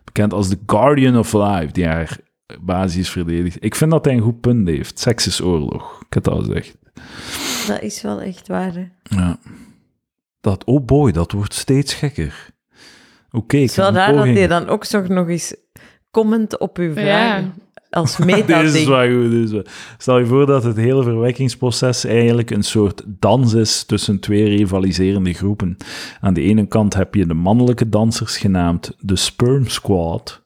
Speaker 2: bekend als de Guardian of Life, die haar basis verdedigt. Ik vind dat hij een goed punt heeft. Seks is oorlog. Ik heb dat al gezegd.
Speaker 1: Dat is wel echt waar. hè.
Speaker 2: Ja. Dat, oh boy, dat wordt steeds gekker. Oké, ik
Speaker 1: Het is wel
Speaker 2: heb een
Speaker 1: raar dat
Speaker 2: poging.
Speaker 1: hij dan ook zo nog eens comment op uw vragen
Speaker 3: Ja.
Speaker 1: als meta
Speaker 2: Dit is wel goed. dit is wel- Stel je voor dat het hele verwekkingsproces eigenlijk een soort dans is tussen twee rivaliserende groepen. Aan de ene kant heb je de mannelijke dansers genaamd de Sperm Squad,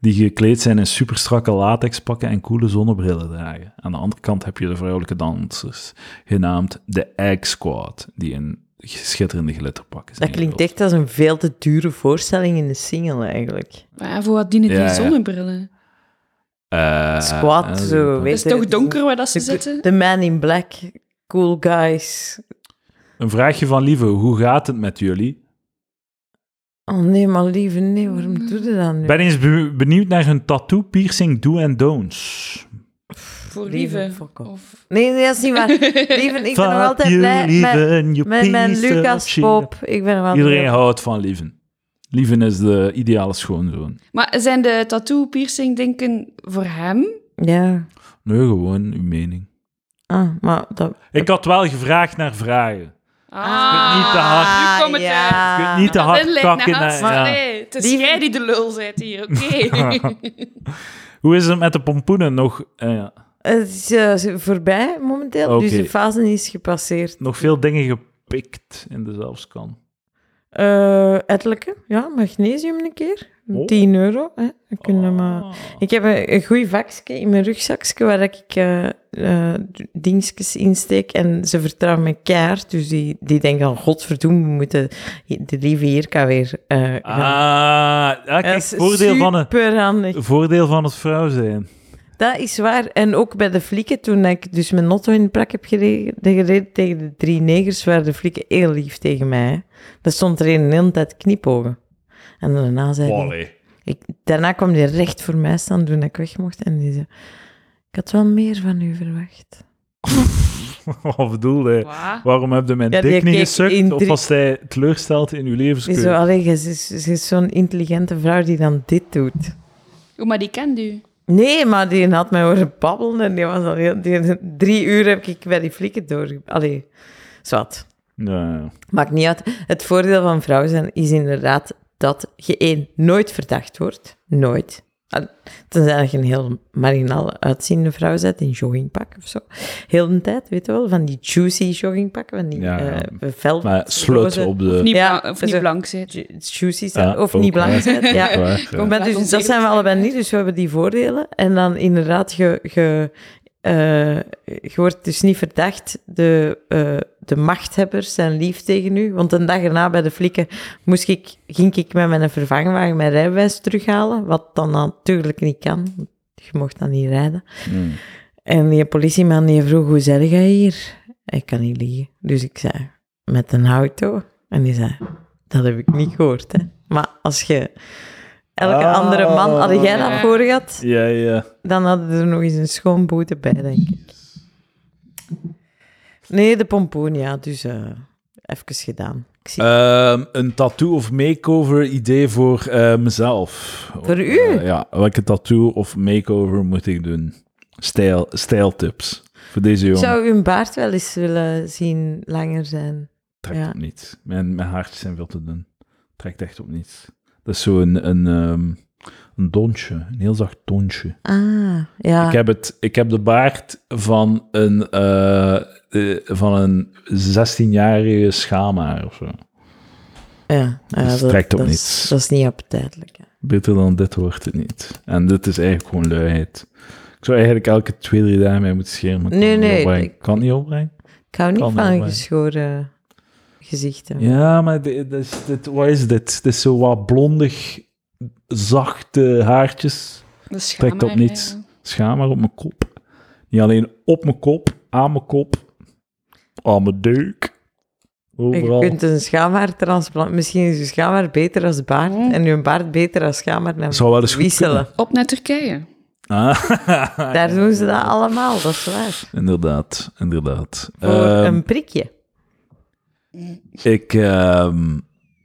Speaker 2: die gekleed zijn in superstrakke latexpakken en coole zonnebrillen dragen. Aan de andere kant heb je de vrouwelijke dansers genaamd de Egg Squad, die in schitterende glitterpakken zijn.
Speaker 1: Dat klinkt echt als een veel te dure voorstelling in de single eigenlijk.
Speaker 3: Maar ja, voor wat dienen die
Speaker 2: Ja, ja.
Speaker 3: zonnebrillen?
Speaker 2: Eh,
Speaker 1: Squad,
Speaker 2: eh,
Speaker 1: zo, weet
Speaker 3: Het is
Speaker 1: je.
Speaker 3: toch donker waar dat ze
Speaker 1: De,
Speaker 3: zitten?
Speaker 1: de man in black, cool guys.
Speaker 2: Een vraagje van lieve, hoe gaat het met jullie?
Speaker 1: Oh nee, maar lieve, nee, waarom doe je dat nu?
Speaker 2: Ik ben eens be- benieuwd naar hun tattoo piercing do and don'ts.
Speaker 3: Voor
Speaker 1: Lieve,
Speaker 3: lieve.
Speaker 1: fuck off.
Speaker 3: Of...
Speaker 1: Nee, nee, dat is niet waar. Lieve, ik ben nog
Speaker 2: Fuck
Speaker 1: altijd
Speaker 2: you,
Speaker 1: blij met,
Speaker 2: lieven, you
Speaker 1: met mijn
Speaker 2: piece of
Speaker 1: Lucas
Speaker 2: shit.
Speaker 1: Pop. Ik ben wel
Speaker 2: Iedereen houdt van lieven. Lieven is de ideale schoonzoon.
Speaker 3: Maar zijn de tattoo-piercing-denken voor hem?
Speaker 1: Ja,
Speaker 2: Nee, gewoon uw mening.
Speaker 1: ah, maar dat...
Speaker 2: Ik had wel gevraagd naar vragen.
Speaker 3: Ah,
Speaker 2: niet te hard.
Speaker 3: Nu komt het uit.
Speaker 2: Je
Speaker 1: Ah.
Speaker 2: kunt niet te
Speaker 3: Dat
Speaker 2: hard
Speaker 3: inleidt naar
Speaker 2: kakken. naar-
Speaker 3: haast.
Speaker 2: ja.
Speaker 3: Nee, het is
Speaker 1: Lieve-
Speaker 3: jij die de lul zit hier, oké.
Speaker 2: Hoe is het met de pompoenen? Nog, eh, ja.
Speaker 1: Het is eh, voorbij momenteel,
Speaker 2: Oké.
Speaker 1: dus de fase is gepasseerd.
Speaker 2: nog veel dingen gepikt in dezelfde kan.
Speaker 1: Eh etelijke, ja, magnesium een keer.
Speaker 2: Oh.
Speaker 1: 10 euro. Hè. We kunnen maar...
Speaker 2: Ah.
Speaker 1: Ik heb een, een goed vakje in mijn rugzakje waar ik eh eh, d- dingetjes insteek. En ze vertrouwen me keihard. Dus die, die denken al, godverdoen, we moeten de lieve Jirka weer... eh, gaan."
Speaker 2: Ah, ja,
Speaker 1: Dat
Speaker 2: Ah, kijk,
Speaker 1: is
Speaker 2: voordeel van, het,
Speaker 1: superhandig.
Speaker 2: voordeel van het vrouw zijn.
Speaker 1: Dat is waar. En ook bij de flikken, toen ik dus mijn notto in de prak heb gereden, gereden tegen de drie negers, waren de flikken heel lief tegen mij. hè. Daar stond er een de hele tijd knipogen. En daarna zei die-
Speaker 2: Wally.
Speaker 1: ik, daarna kwam die recht voor mij staan toen ik weg mocht. En die zei, ik had wel meer van u verwacht.
Speaker 2: Wat bedoelde hij?
Speaker 3: Wow.
Speaker 2: Waarom heb je mijn
Speaker 1: Ja, die
Speaker 2: dik niet
Speaker 1: keek in
Speaker 2: gesukt? Of
Speaker 1: drie-
Speaker 2: was hij teleurgesteld in uw
Speaker 1: Die
Speaker 2: levenskunde?
Speaker 1: zo, allee, je is, je is zo'n intelligente vrouw die dan dit doet.
Speaker 3: Oh, maar die kent u.
Speaker 1: Nee, maar die had mij horen babbelen en die was al heel... Die, drie uur heb ik bij die flikken door... Allee, zwart.
Speaker 2: Ja, ja.
Speaker 1: Maakt niet uit. Het voordeel van vrouw zijn is inderdaad dat je één nooit verdacht wordt. Nooit. Ah, Tenzij dat je een heel marginaal uitziende vrouw bent in joggingpak of zo. Heel de tijd, weet je wel, van die juicy joggingpakken, van die
Speaker 2: Ja,
Speaker 1: eh
Speaker 2: ja.
Speaker 1: velvet
Speaker 2: Maar slut
Speaker 1: roze
Speaker 2: op de...
Speaker 3: Niet
Speaker 1: Ja,
Speaker 3: blank, of
Speaker 1: zo-
Speaker 3: niet blank zit.
Speaker 1: ju- juicy zijn,
Speaker 2: Ja,
Speaker 1: of
Speaker 2: ook,
Speaker 1: niet belangrijk
Speaker 2: hè.
Speaker 1: zijn. Ja.
Speaker 2: Ook waar, ja.
Speaker 1: Maar dus, dat zijn we allebei niet, dus we hebben die voordelen. En dan inderdaad, je, je, eh, je wordt dus niet verdacht. De, eh, de machthebbers zijn lief tegen u. Want een dag erna bij de flikken moest ik, ging ik met mijn vervangwagen mijn rijbewijs terughalen. Wat dan natuurlijk niet kan. want Je mocht dan niet rijden.
Speaker 2: Mm.
Speaker 1: En die politieman die vroeg, hoe zeg jij hier? Ik kan niet liegen. Dus ik zei, met een auto. En die zei, dat heb ik niet gehoord. Hè. Maar als je elke
Speaker 2: Ah.
Speaker 1: andere man, had jij dat
Speaker 3: Ja.
Speaker 1: voor gehad,
Speaker 2: Ja, ja.
Speaker 1: dan hadden er nog eens een schoon boete bij, denk ik. Nee, de pompoen, ja. Dus eh, even gedaan. Ik zie
Speaker 2: Ehm, een tattoo of makeover idee voor eh, mezelf.
Speaker 1: Voor u?
Speaker 2: Eh, ja, welke tattoo of makeover moet ik doen? Stijl, stijltips voor
Speaker 1: ik
Speaker 2: deze jongen.
Speaker 1: zou hun baard wel eens willen zien langer zijn.
Speaker 2: Trekt
Speaker 1: ja.
Speaker 2: op niets. Mijn, mijn haartjes zijn veel te dun. Trekt echt op niets. Dat is zo'n een, ehm, een donsje, een heel zacht donsje.
Speaker 1: Ah, ja.
Speaker 2: Ik, heb het, ik heb de baard van een, eh, eh, van een 16-jarige schaamhaar of zo.
Speaker 1: ja, ja,
Speaker 2: dus trekt op
Speaker 1: dat Is,
Speaker 2: niets.
Speaker 1: dat is niet appetijtelijk. ja.
Speaker 2: Beter dan dit wordt het niet. En dit is eigenlijk gewoon luiheid. Ik zou eigenlijk elke twee, drie dagen mee moeten scheren. maar ik kan
Speaker 1: Nee,
Speaker 2: het niet
Speaker 1: nee,
Speaker 2: opbrengen.
Speaker 1: ik-
Speaker 2: Ik kan het niet opbrengen.
Speaker 1: Ik hou
Speaker 2: Kan
Speaker 1: niet
Speaker 2: wel,
Speaker 1: van
Speaker 2: maar-
Speaker 1: geschoren gezichten.
Speaker 2: Ja, maar dit, dit is- dit- wat is dit? Het is zo wat blondig, zachte haartjes.
Speaker 3: Dat is
Speaker 2: Trekt op
Speaker 3: schaamhaar,
Speaker 2: niets.
Speaker 3: ja.
Speaker 2: Schaam maar op mijn kop. Niet alleen op mijn kop, aan mijn kop, aan mijn deuk.
Speaker 1: Je
Speaker 2: Overal.
Speaker 1: kunt een schaamhaar transplant. Misschien is je schaamhaar beter als baard
Speaker 3: Mm.
Speaker 1: en je baard beter als schaamhaar. En
Speaker 2: Zou wel eens goed
Speaker 1: wisselen.
Speaker 3: Op naar Turkije.
Speaker 2: Ah,
Speaker 1: Daar doen ze dat allemaal, dat is waar.
Speaker 2: inderdaad, inderdaad.
Speaker 1: Voor
Speaker 2: Ehm,
Speaker 1: een prikje.
Speaker 2: Ik, ehm,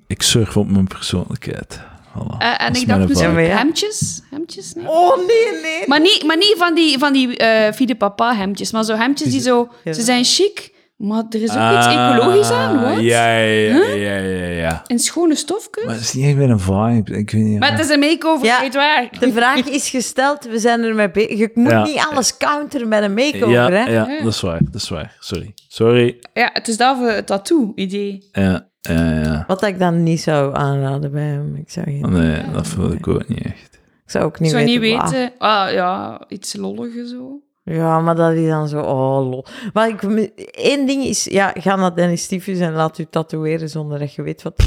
Speaker 2: ik surf op mijn persoonlijkheid. Voilà.
Speaker 3: Eh, en
Speaker 2: Dat is
Speaker 3: ik dacht
Speaker 2: mijn
Speaker 1: Ja,
Speaker 3: misschien
Speaker 1: maar
Speaker 2: vibe.
Speaker 1: ja.
Speaker 3: hemdjes. Hemdjes, nee.
Speaker 1: Oh nee, nee.
Speaker 3: Maar niet, maar niet van die, van die eh Fide Papa hemdjes, maar zo hemdjes die zo...
Speaker 1: Ja.
Speaker 3: Ze zijn chic, maar er is ook iets
Speaker 2: Ah,
Speaker 3: ecologisch aan, wat?
Speaker 2: Ja, ja, ja, ja, ja.
Speaker 3: Een schone stofkus.
Speaker 2: Maar
Speaker 3: Maar,
Speaker 2: het is niet echt meer een vibe. Ik weet niet.
Speaker 3: het is een makeover,
Speaker 1: Ja.
Speaker 3: niet waar.
Speaker 1: De vraag is gesteld, we zijn er mee bezig. Je moet
Speaker 2: Ja.
Speaker 1: niet alles counteren met een
Speaker 2: ja,
Speaker 1: makeover, hè?
Speaker 2: ja, dat is waar. Dat is waar. Sorry. Sorry.
Speaker 3: Ja, het is daarvoor het tattoo-idee.
Speaker 2: Ja, ja, ja.
Speaker 1: Wat ik dan niet zou aanraden bij hem. Ik zou, geen-
Speaker 2: Nee, dat voel ik ook niet echt.
Speaker 1: ik zou ook
Speaker 3: Ik
Speaker 1: niet
Speaker 3: zou
Speaker 1: weten.
Speaker 3: niet
Speaker 1: waar.
Speaker 3: weten... Ah, ja, iets lolliger zo.
Speaker 1: Ja, maar dat is dan zo, oh lol. Maar ik, één ding is, ja, ga naar Dennis Tyfus en laat u tatoeëren zonder dat je weet wat.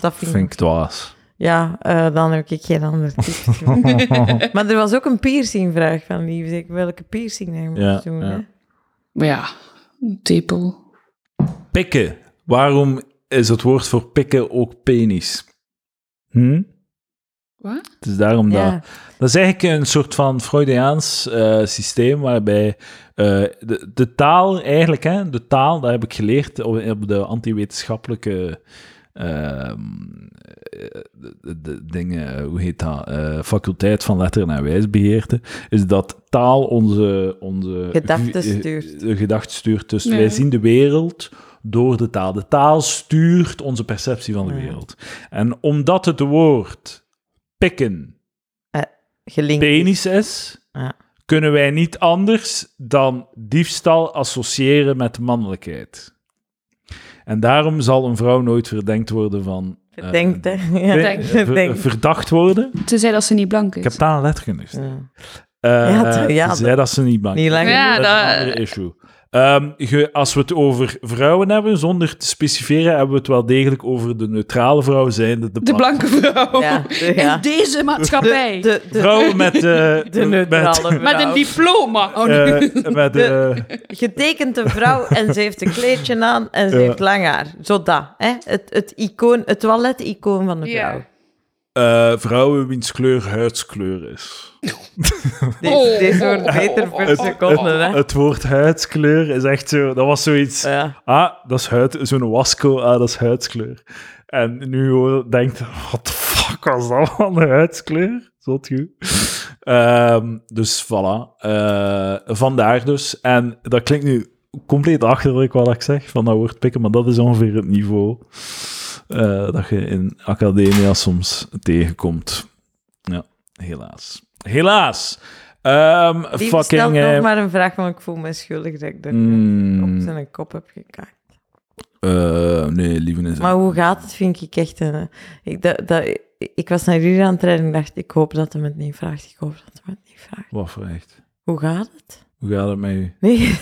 Speaker 1: Dat vind ik.
Speaker 2: Vind ik dwaas.
Speaker 1: Ja, eh, dan heb ik geen ander tip. maar er was ook een piercingvraag van Lieve. Ik, welke piercing hij moest
Speaker 2: Ja,
Speaker 1: doen.
Speaker 2: ja.
Speaker 1: hè?
Speaker 3: Maar ja, een tepel.
Speaker 2: Pikken. Waarom is het woord voor pikken ook penis? Hm?
Speaker 3: Wat?
Speaker 2: Het is daarom
Speaker 1: Ja.
Speaker 2: dat... Dat is eigenlijk een soort van Freudiaans eh, systeem waarbij eh, de, de taal eigenlijk, hè, de taal, dat heb ik geleerd op, op de antiwetenschappelijke ehm, eh, de, de dingen, hoe heet dat, eh, faculteit van letteren en wijsbegeerte, is dat taal onze... onze
Speaker 1: Gedachten
Speaker 2: vi- eh,
Speaker 1: stuurt.
Speaker 2: De gedachten stuurt. Dus
Speaker 3: Ja.
Speaker 2: wij zien de wereld door de taal. De taal stuurt onze perceptie van de
Speaker 1: Ja.
Speaker 2: wereld. En omdat het woord pikken
Speaker 1: Gelinkt.
Speaker 2: penis is,
Speaker 1: Ja.
Speaker 2: kunnen wij niet anders dan diefstal associëren met mannelijkheid. En daarom zal een vrouw nooit verdenkt worden van
Speaker 1: Gedenkt, hè. Ja,
Speaker 2: Nee,
Speaker 3: Denk.
Speaker 2: Eh, ver-
Speaker 1: gedenkt.
Speaker 2: Verdacht worden.
Speaker 3: Tenzij dat ze niet blank
Speaker 2: Ik heb
Speaker 3: is.
Speaker 2: taal en letterkunde gestaan.
Speaker 1: Ja.
Speaker 2: Eh,
Speaker 1: Ja, dat- ja,
Speaker 2: zei dat ze niet bang
Speaker 1: Niet lang.
Speaker 3: Ja,
Speaker 2: Dat is
Speaker 3: dat-
Speaker 2: een andere issue. Ehm, ge- als we het over vrouwen hebben, zonder te specificeren, hebben we het wel degelijk over de neutrale vrouw zijnde. De,
Speaker 3: De blanke vrouw.
Speaker 1: Ja, de- ja.
Speaker 3: In deze maatschappij.
Speaker 1: De, de, de,
Speaker 2: Vrouwen met... eh
Speaker 1: de
Speaker 2: met,
Speaker 1: neutrale
Speaker 3: Met een
Speaker 1: vrouw.
Speaker 3: diploma. Oh, nee.
Speaker 2: eh, met eh,
Speaker 1: Getekend een vrouw en ze heeft een kleedje aan en ze
Speaker 2: Ja.
Speaker 1: heeft lang haar. Zo dat. Hè? Het, het, icoon, het toilet-icoon van de
Speaker 3: Ja.
Speaker 1: vrouw.
Speaker 2: eh, vrouwen wiens kleur huidskleur is.
Speaker 1: Deze,
Speaker 3: Oh.
Speaker 1: deze wordt beter per
Speaker 2: Het-
Speaker 1: seconde. Hè?
Speaker 2: Het woord huidskleur is echt zo... Dat was zoiets...
Speaker 1: Ja.
Speaker 2: Ah, dat is huid... Zo'n wasco, ah, dat is huidskleur. En nu hoor, denkt... What the fuck was dat van de huidskleur? Zot goed. Ehm, dus voilà. Eh, vandaar dus. En dat klinkt nu compleet achterlijk wat ik zeg, van dat woord pikken, maar dat is ongeveer het niveau eh, dat je in academia soms tegenkomt. Ja, helaas. Helaas! Ehm,
Speaker 1: Die
Speaker 2: fucking...
Speaker 1: stelt
Speaker 2: eh,
Speaker 1: nog maar een vraag, want ik voel me schuldig dat ik er op
Speaker 2: mm,
Speaker 1: zijn kop heb gekaakt.
Speaker 2: eh, nee, lieve is
Speaker 1: Maar hoe gaat het, vind ik echt... Een, eh, ik, dat, dat, ik was naar jullie aan het rijden en dacht, ik hoop dat hij me het niet vraagt. Ik hoop dat hij me het niet vraagt.
Speaker 2: Wat voor echt?
Speaker 1: Hoe gaat het?
Speaker 2: Hoe gaat het met u?
Speaker 1: Nee,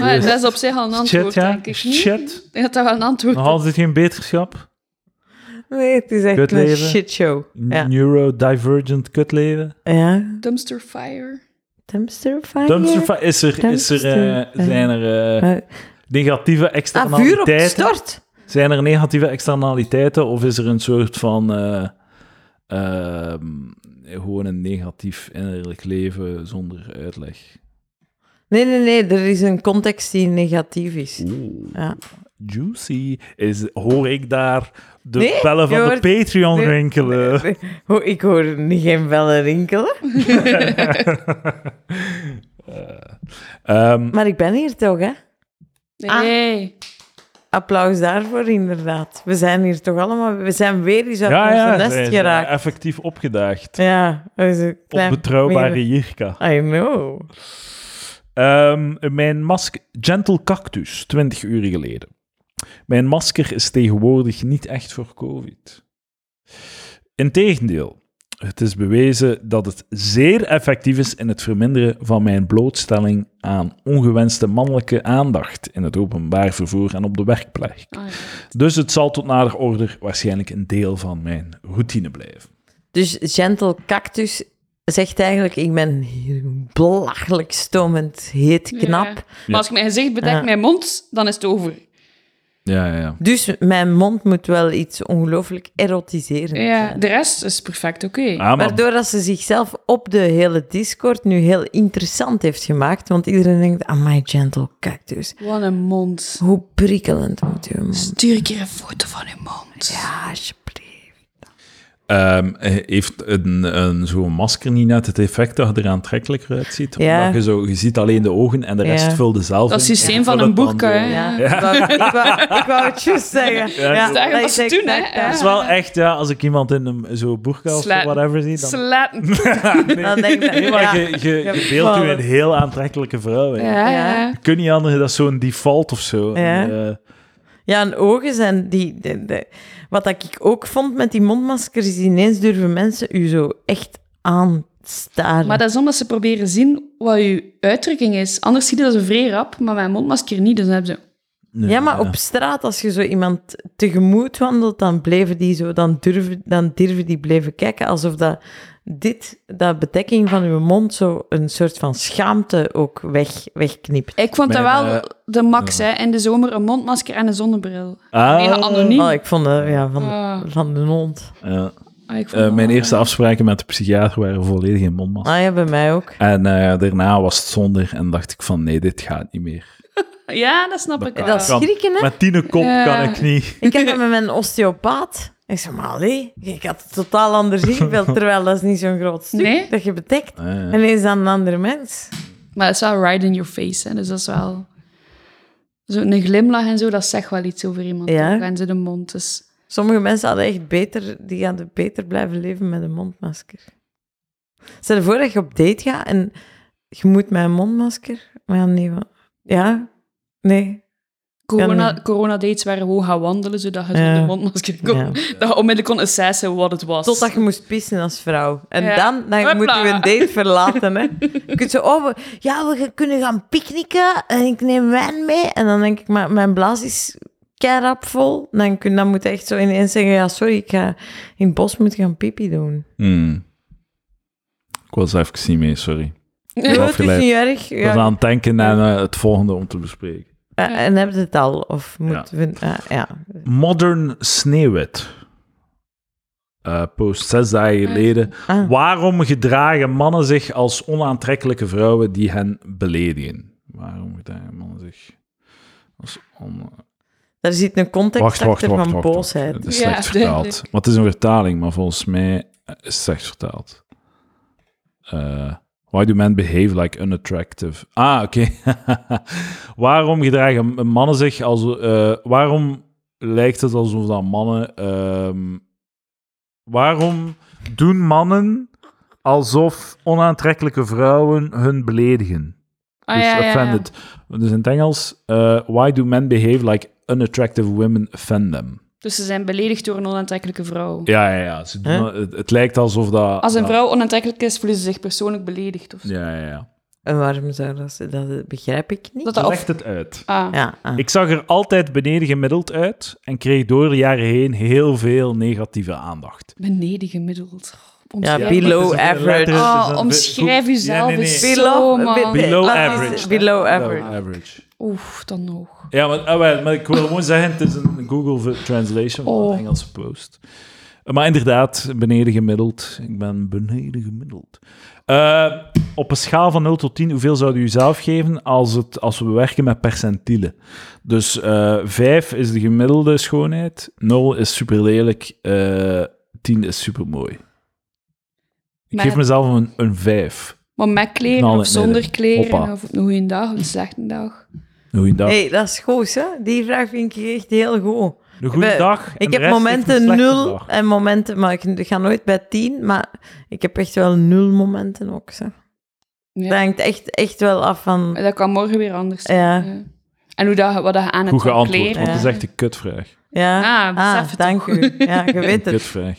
Speaker 3: Maar dat is op zich al een antwoord,
Speaker 2: Shit, ja?
Speaker 3: denk ik. niet?
Speaker 2: Shit?
Speaker 3: Ik denk dat dat wel een antwoord
Speaker 2: Nog altijd geen beterschap?
Speaker 1: nee het is echt een
Speaker 2: Kutleven.
Speaker 1: shitshow. Ja.
Speaker 2: Neurodivergent kutleven?
Speaker 1: ja.
Speaker 3: Dumpster fire.
Speaker 1: Dumpster fire?
Speaker 2: Dumpster fi- is er, is er eh,
Speaker 1: Ah, Dumpster, eh,
Speaker 2: zijn er eh,
Speaker 1: Eh,
Speaker 2: negatieve
Speaker 1: ah, vuur op de
Speaker 2: externaliteiten?
Speaker 1: stort.
Speaker 2: Zijn er negatieve externaliteiten of is er een soort van eh, ehm, gewoon een negatief innerlijk leven zonder uitleg?
Speaker 1: Nee, nee, nee. Er is een context die negatief is. Ja.
Speaker 2: Juicy is hoor ik daar de
Speaker 1: Nee,
Speaker 2: bellen van
Speaker 1: je
Speaker 2: de
Speaker 1: hoort-
Speaker 2: Patreon
Speaker 1: nee,
Speaker 2: rinkelen.
Speaker 1: Ho, ik hoor geen bellen rinkelen.
Speaker 2: Ehm,
Speaker 1: Maar ik ben hier toch, hè?
Speaker 3: Nee.
Speaker 1: Applaus daarvoor, inderdaad. We zijn hier toch allemaal... We zijn weer eens uit
Speaker 2: ja, ja,
Speaker 1: onze nest
Speaker 2: zij is
Speaker 1: geraakt.
Speaker 2: effectief opgedaagd.
Speaker 1: Ja, dat is een klein...
Speaker 2: Onbetrouwbare Jirka.
Speaker 1: I know.
Speaker 2: Ehm, mijn masker... Gentle Cactus, 20 uur geleden. Mijn masker is tegenwoordig niet echt voor COVID. Integendeel, het is bewezen dat het zeer effectief is in het verminderen van mijn blootstelling aan ongewenste mannelijke aandacht in het openbaar vervoer en op de werkplek.
Speaker 3: Ah, ja.
Speaker 2: Dus het zal tot nader order waarschijnlijk een deel van mijn routine blijven.
Speaker 1: Dus Gentle Cactus zegt eigenlijk... Ik ben hier belachelijk stomend, heet, knap.
Speaker 3: Ja. Maar als ik mijn gezicht bedek, mijn mond, dan is het over.
Speaker 2: Ja, ja, ja.
Speaker 1: Dus mijn mond moet wel iets ongelooflijk erotiserend
Speaker 3: Ja,
Speaker 1: zijn.
Speaker 3: de rest is perfect oké.
Speaker 2: Ah, maar
Speaker 1: Waardoor dat ze zichzelf op de hele Discord nu heel interessant heeft gemaakt. Want iedereen denkt, my gentle cactus.
Speaker 3: Wat een mond.
Speaker 1: Hoe prikkelend moet je mond.
Speaker 3: Stuur een keer een foto van uw mond.
Speaker 1: Ja, alsjeblieft.
Speaker 2: Ehm, heeft een, een, zo'n masker niet net het effect dat je er aantrekkelijker uitziet?
Speaker 1: Ja.
Speaker 2: Omdat je, zo, je ziet alleen de ogen en de rest
Speaker 1: Ja.
Speaker 2: vulde zelf
Speaker 3: Dat
Speaker 2: in.
Speaker 3: systeem
Speaker 2: Je
Speaker 3: van
Speaker 2: vult het
Speaker 3: een boekje,
Speaker 2: dan
Speaker 3: hè?
Speaker 2: door.
Speaker 1: Ja,
Speaker 2: Ja.
Speaker 1: Ik, wou, ik, wou, ik wou het juist zeggen.
Speaker 2: Ja,
Speaker 1: Ja,
Speaker 2: dat
Speaker 3: is
Speaker 1: is
Speaker 3: wat ze doen, hè.
Speaker 1: exact, ja.
Speaker 2: Dat is wel echt, ja, als ik iemand in een zo'n boerka of zo
Speaker 3: Sla-
Speaker 2: whatever zie, dan...
Speaker 3: Slaten.
Speaker 1: Dan denk ik,
Speaker 2: Nee, maar
Speaker 1: ja.
Speaker 2: je, je,
Speaker 1: Ja,
Speaker 2: je beeldt u
Speaker 1: vallen.
Speaker 2: een heel aantrekkelijke vrouw. hè.
Speaker 3: Ja,
Speaker 1: Ja.
Speaker 2: Je kunt niet anders, dat is zo'n default of zo.
Speaker 1: Ja.
Speaker 2: En, eh,
Speaker 1: Ja, en ogen zijn die... de- de- wat dat ik ook vond met die mondmaskers, is ineens durven mensen u zo echt aanstaren.
Speaker 3: Maar dat is omdat ze proberen zien wat uw uitdrukking is. Anders zie je dat ze vrij rap, maar mijn mondmasker niet. Dus dan hebben ze...
Speaker 2: nee,
Speaker 1: Ja, maar op straat, als je zo iemand tegemoet wandelt, dan bleven die zo, dan durven, dan durven die blijven kijken, alsof dat dit, dat bedekking van uw mond, zo een soort van schaamte ook weg, wegknipt.
Speaker 3: Ik vond dat
Speaker 2: Mijn,
Speaker 3: wel
Speaker 2: eh,
Speaker 3: de max, hè. In de zomer een mondmasker en een zonnebril.
Speaker 2: Ah,
Speaker 3: Mega anoniem.
Speaker 1: Oh, ik vond dat, ja, van,
Speaker 3: Ah.
Speaker 1: van de hond.
Speaker 2: ja.
Speaker 3: Ah, ik vond
Speaker 2: Eh,
Speaker 3: dat
Speaker 2: mijn
Speaker 3: wel-
Speaker 2: eerste afspraken met de psychiater waren volledig in mondmasker.
Speaker 1: Ah ja, bij mij ook.
Speaker 2: En eh, daarna was het zonder en dacht ik van nee, dit gaat niet meer.
Speaker 3: Ja, dat snap ik wel.
Speaker 1: Dat is
Speaker 2: kan.
Speaker 1: schrikken, hè?
Speaker 2: Met tien kop
Speaker 3: Ja.
Speaker 2: kan ik niet.
Speaker 1: Ik heb dat met mijn osteopaat. Ik zeg, maar allee, ik had het totaal anders ingevuld, terwijl dat is niet zo'n groot stuk
Speaker 3: Nee.
Speaker 1: dat je bedekt.
Speaker 2: Ah, ja.
Speaker 1: En is dan een ander mens.
Speaker 3: Maar het is wel right in your face, hè. Dus dat is wel... Zo'n glimlach en zo, dat zegt wel iets over iemand.
Speaker 1: Ja.
Speaker 3: Ja. En ze de mond, dus...
Speaker 1: Sommige mensen hadden echt beter, die hadden beter blijven leven met een mondmasker. Stel je voor dat je op date gaat en je moet met een mondmasker. Maar ja, nee. wa- Ja, nee.
Speaker 3: Corona, Corona-dates waren gewoon gaan wandelen, zodat je
Speaker 1: Ja.
Speaker 3: zonder mondmasker kon.
Speaker 1: Ja.
Speaker 3: Dat je onmiddellijk kon assessen wat het was.
Speaker 1: Totdat je moest pissen als vrouw. En
Speaker 3: Ja.
Speaker 1: dan, dan
Speaker 3: Hopla.
Speaker 1: moet je een date verlaten. Hè. Je kunt zo, oh, we- ja, we gaan- kunnen gaan picknicken en ik neem wijn mee. En dan denk ik, maar mijn blaas is keirap vol. Dan, kun, dan moet je echt zo ineens zeggen, ja, sorry, ik ga in het bos moeten gaan pipi doen.
Speaker 2: Hmm. Ik was even niet mee, sorry.
Speaker 1: Ja, het is
Speaker 2: afgeleid.
Speaker 1: niet erg.
Speaker 2: Ik was
Speaker 1: Ja.
Speaker 2: aan het denken aan eh, het volgende om te bespreken.
Speaker 1: Eh, En heb je het al? Of moeten we... eh, ja.
Speaker 2: Modern Sneeuwwit. Eh, post zes dagen geleden.
Speaker 1: Ah.
Speaker 2: Waarom gedragen mannen zich als onaantrekkelijke vrouwen die hen beledigen? Waarom gedragen mannen zich als on...
Speaker 1: Daar zit een context
Speaker 2: Wacht, wacht,
Speaker 1: achter
Speaker 2: wacht,
Speaker 1: van
Speaker 2: wacht, wacht.
Speaker 1: boosheid.
Speaker 2: Het is
Speaker 3: Ja,
Speaker 2: slecht vertaald.
Speaker 3: duidelijk.
Speaker 2: Maar het is een vertaling, maar volgens mij eh, is het slecht vertaald. Eh, why do men behave like unattractive? Ah, oké. waarom gedragen mannen zich als... eh, waarom lijkt het alsof dat mannen... ehm, waarom doen mannen alsof onaantrekkelijke vrouwen hun beledigen?
Speaker 3: Ah,
Speaker 2: dus
Speaker 3: ja, ja, ja.
Speaker 2: offended. Dus in het Engels, eh, why do men behave like unattractive women offend them?
Speaker 3: Dus ze zijn beledigd door een onaantrekkelijke vrouw.
Speaker 2: Ja, ja, ja. Ze doen-
Speaker 1: Huh?
Speaker 2: het, het lijkt alsof dat...
Speaker 3: Als een
Speaker 2: dat-
Speaker 3: vrouw onaantrekkelijk is, voelen ze zich persoonlijk beledigd. Of zo.
Speaker 2: Ja, ja, ja.
Speaker 1: En waarom zou dat... ze- Dat begrijp ik niet.
Speaker 3: Dat dat
Speaker 2: Legt
Speaker 3: of...
Speaker 2: het uit.
Speaker 3: Ah.
Speaker 1: Ja, ah.
Speaker 2: Ik zag er altijd beneden gemiddeld uit en kreeg door de jaren heen heel veel negatieve aandacht.
Speaker 3: Beneden gemiddeld.
Speaker 1: Ja,
Speaker 3: Omschrijf-
Speaker 1: below
Speaker 2: Het is een
Speaker 1: average.
Speaker 2: letter, het is
Speaker 3: Oh,
Speaker 2: een-
Speaker 3: omschrijf jezelf
Speaker 2: Ja, nee, nee.
Speaker 3: eens. Zo, man.
Speaker 1: be-
Speaker 2: Below
Speaker 1: laat eens-
Speaker 2: average.
Speaker 1: Below
Speaker 2: Below
Speaker 1: average.
Speaker 2: average.
Speaker 3: Oef, dan nog.
Speaker 2: Ja, maar, ah, wel, maar ik wil gewoon zeggen, het is een Google translation van
Speaker 3: Oh.
Speaker 2: een Engelse post. Eh, Maar inderdaad, beneden gemiddeld. Ik ben beneden gemiddeld. Eh, op een schaal van 0 tot 10, hoeveel zou u uzelf geven als, het, als we werken met percentielen? Dus eh 5 is de gemiddelde schoonheid, 0 is super lelijk, 10 is super mooi. Ik
Speaker 3: Maar-
Speaker 2: geef mezelf een, een 5.
Speaker 3: Maar met kleren
Speaker 2: Nou,
Speaker 3: of
Speaker 2: nee, nee.
Speaker 3: zonder kleren,
Speaker 2: Hoppa.
Speaker 3: of op een goede dag of een slechte dag.
Speaker 2: Goeiedag.
Speaker 1: hey, dat is goed, hè? Die vraag vind ik echt heel goed.
Speaker 2: een goede
Speaker 1: we-
Speaker 2: dag. en
Speaker 1: Ik
Speaker 2: de
Speaker 1: heb
Speaker 2: rest heeft een
Speaker 1: momenten
Speaker 2: slechte
Speaker 1: nul
Speaker 2: dag.
Speaker 1: en momenten, maar ik ga nooit bij tien, maar ik heb echt wel nul momenten ook. Zo.
Speaker 3: Ja.
Speaker 1: Dat hangt echt, echt wel af van.
Speaker 3: Dat kan morgen weer anders zijn.
Speaker 1: Ja.
Speaker 3: En hoe dat, wat dat je aan hebt
Speaker 2: Goed
Speaker 3: van
Speaker 2: geantwoord, want
Speaker 3: kleren.
Speaker 2: het is
Speaker 1: Ja.
Speaker 2: echt een kutvraag.
Speaker 1: Ja,
Speaker 3: Ah, besef het
Speaker 1: dank
Speaker 3: toch.
Speaker 1: u. Ja, je weet het.
Speaker 2: Kutvraag.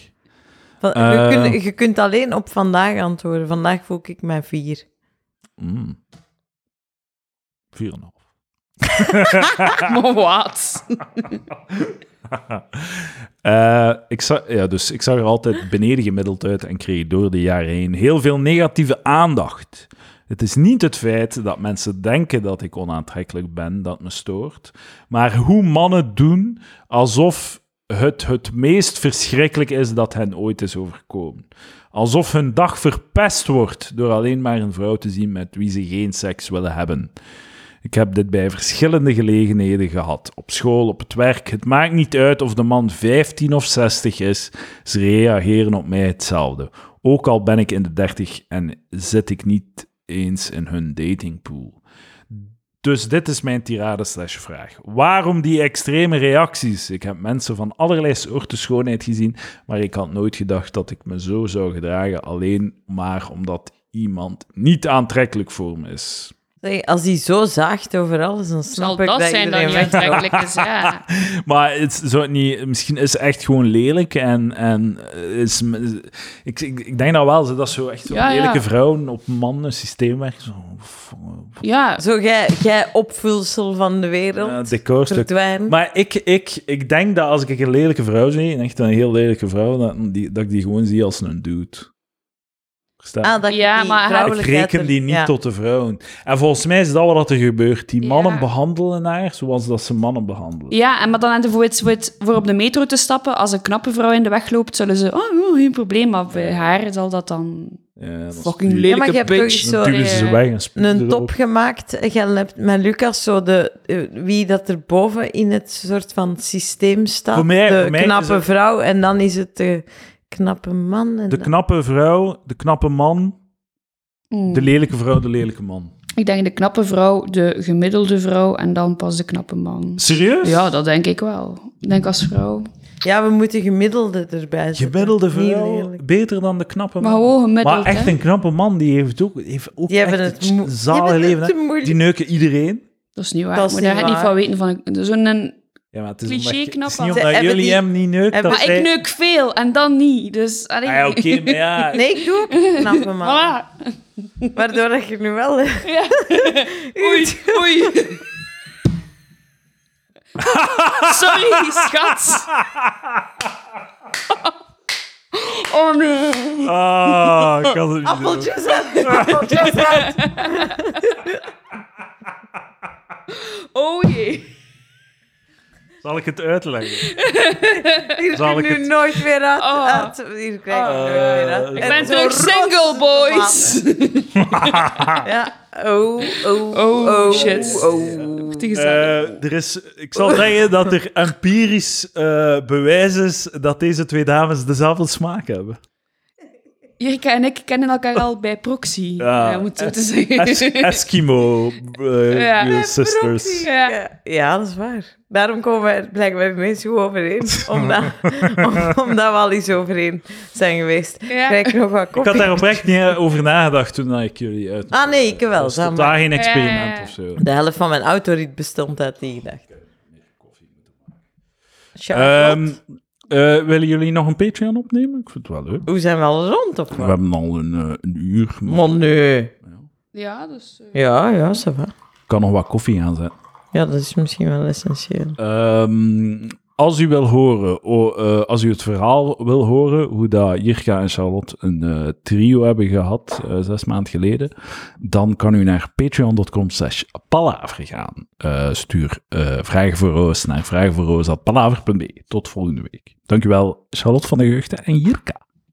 Speaker 1: Van-
Speaker 2: Eh.
Speaker 1: je, kunt, je kunt alleen op vandaag antwoorden. Vandaag voel ik mij vier.
Speaker 2: Mm. 4,5.
Speaker 3: Maar wat?
Speaker 2: Eh, ik, zag, ja, dus ik zag er altijd beneden gemiddeld uit en kreeg door de jaren heen heel veel negatieve aandacht. Het is niet het feit dat mensen denken dat ik onaantrekkelijk ben dat me stoort, maar hoe mannen doen alsof het het meest verschrikkelijk is dat hen ooit is overkomen. Alsof hun dag verpest wordt door alleen maar een vrouw te zien met wie ze geen seks willen hebben. Ik heb dit bij verschillende gelegenheden gehad. Op school, op het werk. Het maakt niet uit of de man 15 of 60 is. Ze reageren op mij hetzelfde. Ook al ben ik in de 30 en zit ik niet eens in hun datingpool. Dus dit is mijn tirade slash vraag. Waarom die extreme reacties? Ik heb mensen van allerlei soorten schoonheid gezien, maar ik had nooit gedacht dat ik me zo zou gedragen, alleen maar omdat iemand niet aantrekkelijk voor me is.
Speaker 1: Zeg, als die zo zaagt over alles, dan snap
Speaker 3: Zal
Speaker 1: ik
Speaker 3: dat
Speaker 1: dat
Speaker 3: zijn dat
Speaker 1: iedereen
Speaker 3: niet
Speaker 1: weg-
Speaker 3: aantrekkelijk is? Ja.
Speaker 2: Maar het zou het niet, misschien is ze echt gewoon lelijk. En, en eh, is, ik, ik, ik denk dat wel, ze- dat zo echt zo'n
Speaker 3: Ja, ja.
Speaker 2: lelijke vrouwen op mannen systeem werken. Zo, f-
Speaker 3: ja.
Speaker 1: Zo, jij, jij opvulsel van de wereld.
Speaker 2: eh, decorstuk.
Speaker 1: verdwijnen.
Speaker 2: Maar ik, ik, ik denk dat als ik een lelijke vrouw zie, en echt een heel lelijke vrouw, dat, die, dat ik die gewoon zie als een dude. Verstaan?
Speaker 1: Ah, dat
Speaker 3: Ja,
Speaker 1: die
Speaker 3: maar hij-
Speaker 2: ik
Speaker 1: vrouwelijkheid
Speaker 2: reken die
Speaker 1: er-
Speaker 2: niet
Speaker 1: ja.
Speaker 2: tot de vrouwen. En volgens mij is dat wat er gebeurt. Die mannen
Speaker 3: Ja.
Speaker 2: behandelen haar zoals dat ze mannen behandelen.
Speaker 3: Ja, en maar dan aan de voor, voor op de metro te stappen, als een knappe vrouw in de weg loopt, zullen ze, oh, oh, geen probleem, maar bij haar zal dat dan...
Speaker 2: Ja, dat is
Speaker 3: Fucking
Speaker 2: duur.
Speaker 1: Ja, maar
Speaker 3: lelijke
Speaker 1: je hebt toch
Speaker 3: bitch.
Speaker 1: iets
Speaker 2: Dan
Speaker 1: zo... eh,
Speaker 2: duwen ze ze weg en spugen
Speaker 1: een
Speaker 2: erop.
Speaker 1: top gemaakt. Je hebt met Lucas zo de, eh, wie dat er boven in het soort van systeem staat.
Speaker 2: Voor mij-
Speaker 1: de
Speaker 2: voor mij is
Speaker 1: knappe
Speaker 2: het-
Speaker 1: vrouw en dan is het de knappe man. En
Speaker 2: De
Speaker 1: dan-
Speaker 2: knappe vrouw, de knappe man,
Speaker 3: Mm.
Speaker 1: Hmm.
Speaker 2: de lelijke vrouw, de lelijke man.
Speaker 3: Ik denk de knappe vrouw, de gemiddelde vrouw en dan pas de knappe man.
Speaker 2: Serieus?
Speaker 3: Ja, dat denk ik wel. Ik denk als vrouw.
Speaker 1: Ja, we moeten gemiddelde erbij zetten.
Speaker 2: Gemiddelde
Speaker 1: Niet
Speaker 2: vrouw,
Speaker 1: lelijk.
Speaker 2: beter dan de knappe man.
Speaker 3: Maar gewoon gemiddeld,
Speaker 2: Maar echt
Speaker 3: hè.
Speaker 2: een knappe man, die heeft ook, heeft ook
Speaker 1: Die
Speaker 2: echt
Speaker 1: hebben het
Speaker 2: het
Speaker 1: moe-
Speaker 2: zale
Speaker 1: die hebben
Speaker 2: leven.
Speaker 1: het
Speaker 2: hè.
Speaker 1: te moeilijk.
Speaker 2: Die neuken iedereen.
Speaker 3: Dat is niet waar.
Speaker 1: Dat is
Speaker 3: maar
Speaker 1: niet
Speaker 3: daar gaat niet
Speaker 1: waar.
Speaker 3: van weten van... een- Zo'n... een-
Speaker 2: Ja, maar het is
Speaker 3: Cliché
Speaker 2: omdat, je-
Speaker 3: knap
Speaker 2: het is niet
Speaker 1: al.
Speaker 2: omdat
Speaker 1: Ze hebben
Speaker 2: jullie
Speaker 1: die-
Speaker 2: hem niet neukt.
Speaker 1: hebben-
Speaker 2: dat
Speaker 1: Maar
Speaker 3: Maar
Speaker 2: zij-
Speaker 3: ik neuk veel en dan niet. Dus... allee.
Speaker 2: Ah, ja, oké, maar ja.
Speaker 1: Nee, ik doe ook knappe mannen.
Speaker 3: Voilà.
Speaker 1: Waardoor dat je nu wel... eh,
Speaker 3: Ja. Oei, oei. Sorry, schat. Oh nee.
Speaker 2: Ah, ik kan het niet doen.
Speaker 1: Appeltjes uit! Appeltjes uit!
Speaker 3: Oh jee.
Speaker 2: Zal ik het uitleggen?
Speaker 1: Hier
Speaker 2: Zal
Speaker 1: kun
Speaker 2: ik
Speaker 1: je nu
Speaker 2: het-
Speaker 1: nooit weer uit.
Speaker 3: Oh. Eh,
Speaker 1: uit- Hier krijg je
Speaker 2: Oh.
Speaker 1: nooit weer uit.
Speaker 2: Ik
Speaker 1: En
Speaker 3: Ik ben
Speaker 1: zo
Speaker 3: terug
Speaker 1: rot
Speaker 3: single,
Speaker 1: op de
Speaker 3: boys.
Speaker 1: maat. Ja. Oh, oh,
Speaker 3: Oh,
Speaker 1: oh,
Speaker 3: shit.
Speaker 1: Oh.
Speaker 2: Eh, er is, ik zal zeggen dat er empirisch eh, bewijs is dat deze twee dames dezelfde smaak hebben.
Speaker 3: Jirka en ik kennen elkaar al bij proxy.
Speaker 2: Ja.
Speaker 3: Ja, moet zo te zeggen.
Speaker 2: Es- Eskimo eh,
Speaker 3: Ja.
Speaker 2: eh, sisters.
Speaker 3: Ja.
Speaker 1: Ja. Ja, dat is waar. Daarom komen we blijkbaar mensen goed overeen. Omdat, om- omdat we al eens overeen zijn geweest.
Speaker 3: Ja.
Speaker 1: Krijg ik nog wat
Speaker 2: Ik had
Speaker 1: koffie?
Speaker 2: daar oprecht niet eh, over nagedacht toen dat ik jullie uit.
Speaker 1: Ah nee, ik wel.
Speaker 2: Dat is
Speaker 1: zeg maar.
Speaker 2: totaal geen
Speaker 3: Ja, ja,
Speaker 2: experiment
Speaker 3: ja.
Speaker 2: of zo.
Speaker 1: De helft van mijn autorit bestond uit die gedachte. Charlotte.
Speaker 2: Ehm, eh, willen jullie nog een Patreon opnemen? Ik vind het wel leuk.
Speaker 1: Hoe zijn we al rond of
Speaker 2: We
Speaker 1: wat?
Speaker 2: hebben al een, eh, een uur. maar
Speaker 1: Maar nee.
Speaker 3: Ja, dus... eh,
Speaker 1: Ja, ja, ça va.
Speaker 2: Ik kan nog wat koffie aanzetten.
Speaker 1: Ja, dat is misschien wel essentieel.
Speaker 2: Ehm, als u wil horen, o- eh, als u het verhaal wil horen, hoe dat Jirka en Charlotte een eh, trio hebben gehad eh, zes maanden geleden, dan kan u naar patreon.com slash palaver gaan. Eh, stuur eh, vragen voor Roos naar vragenvoorroos.palaver.be. Tot volgende week. Dankjewel Charlotte van de Geugde en Jirka.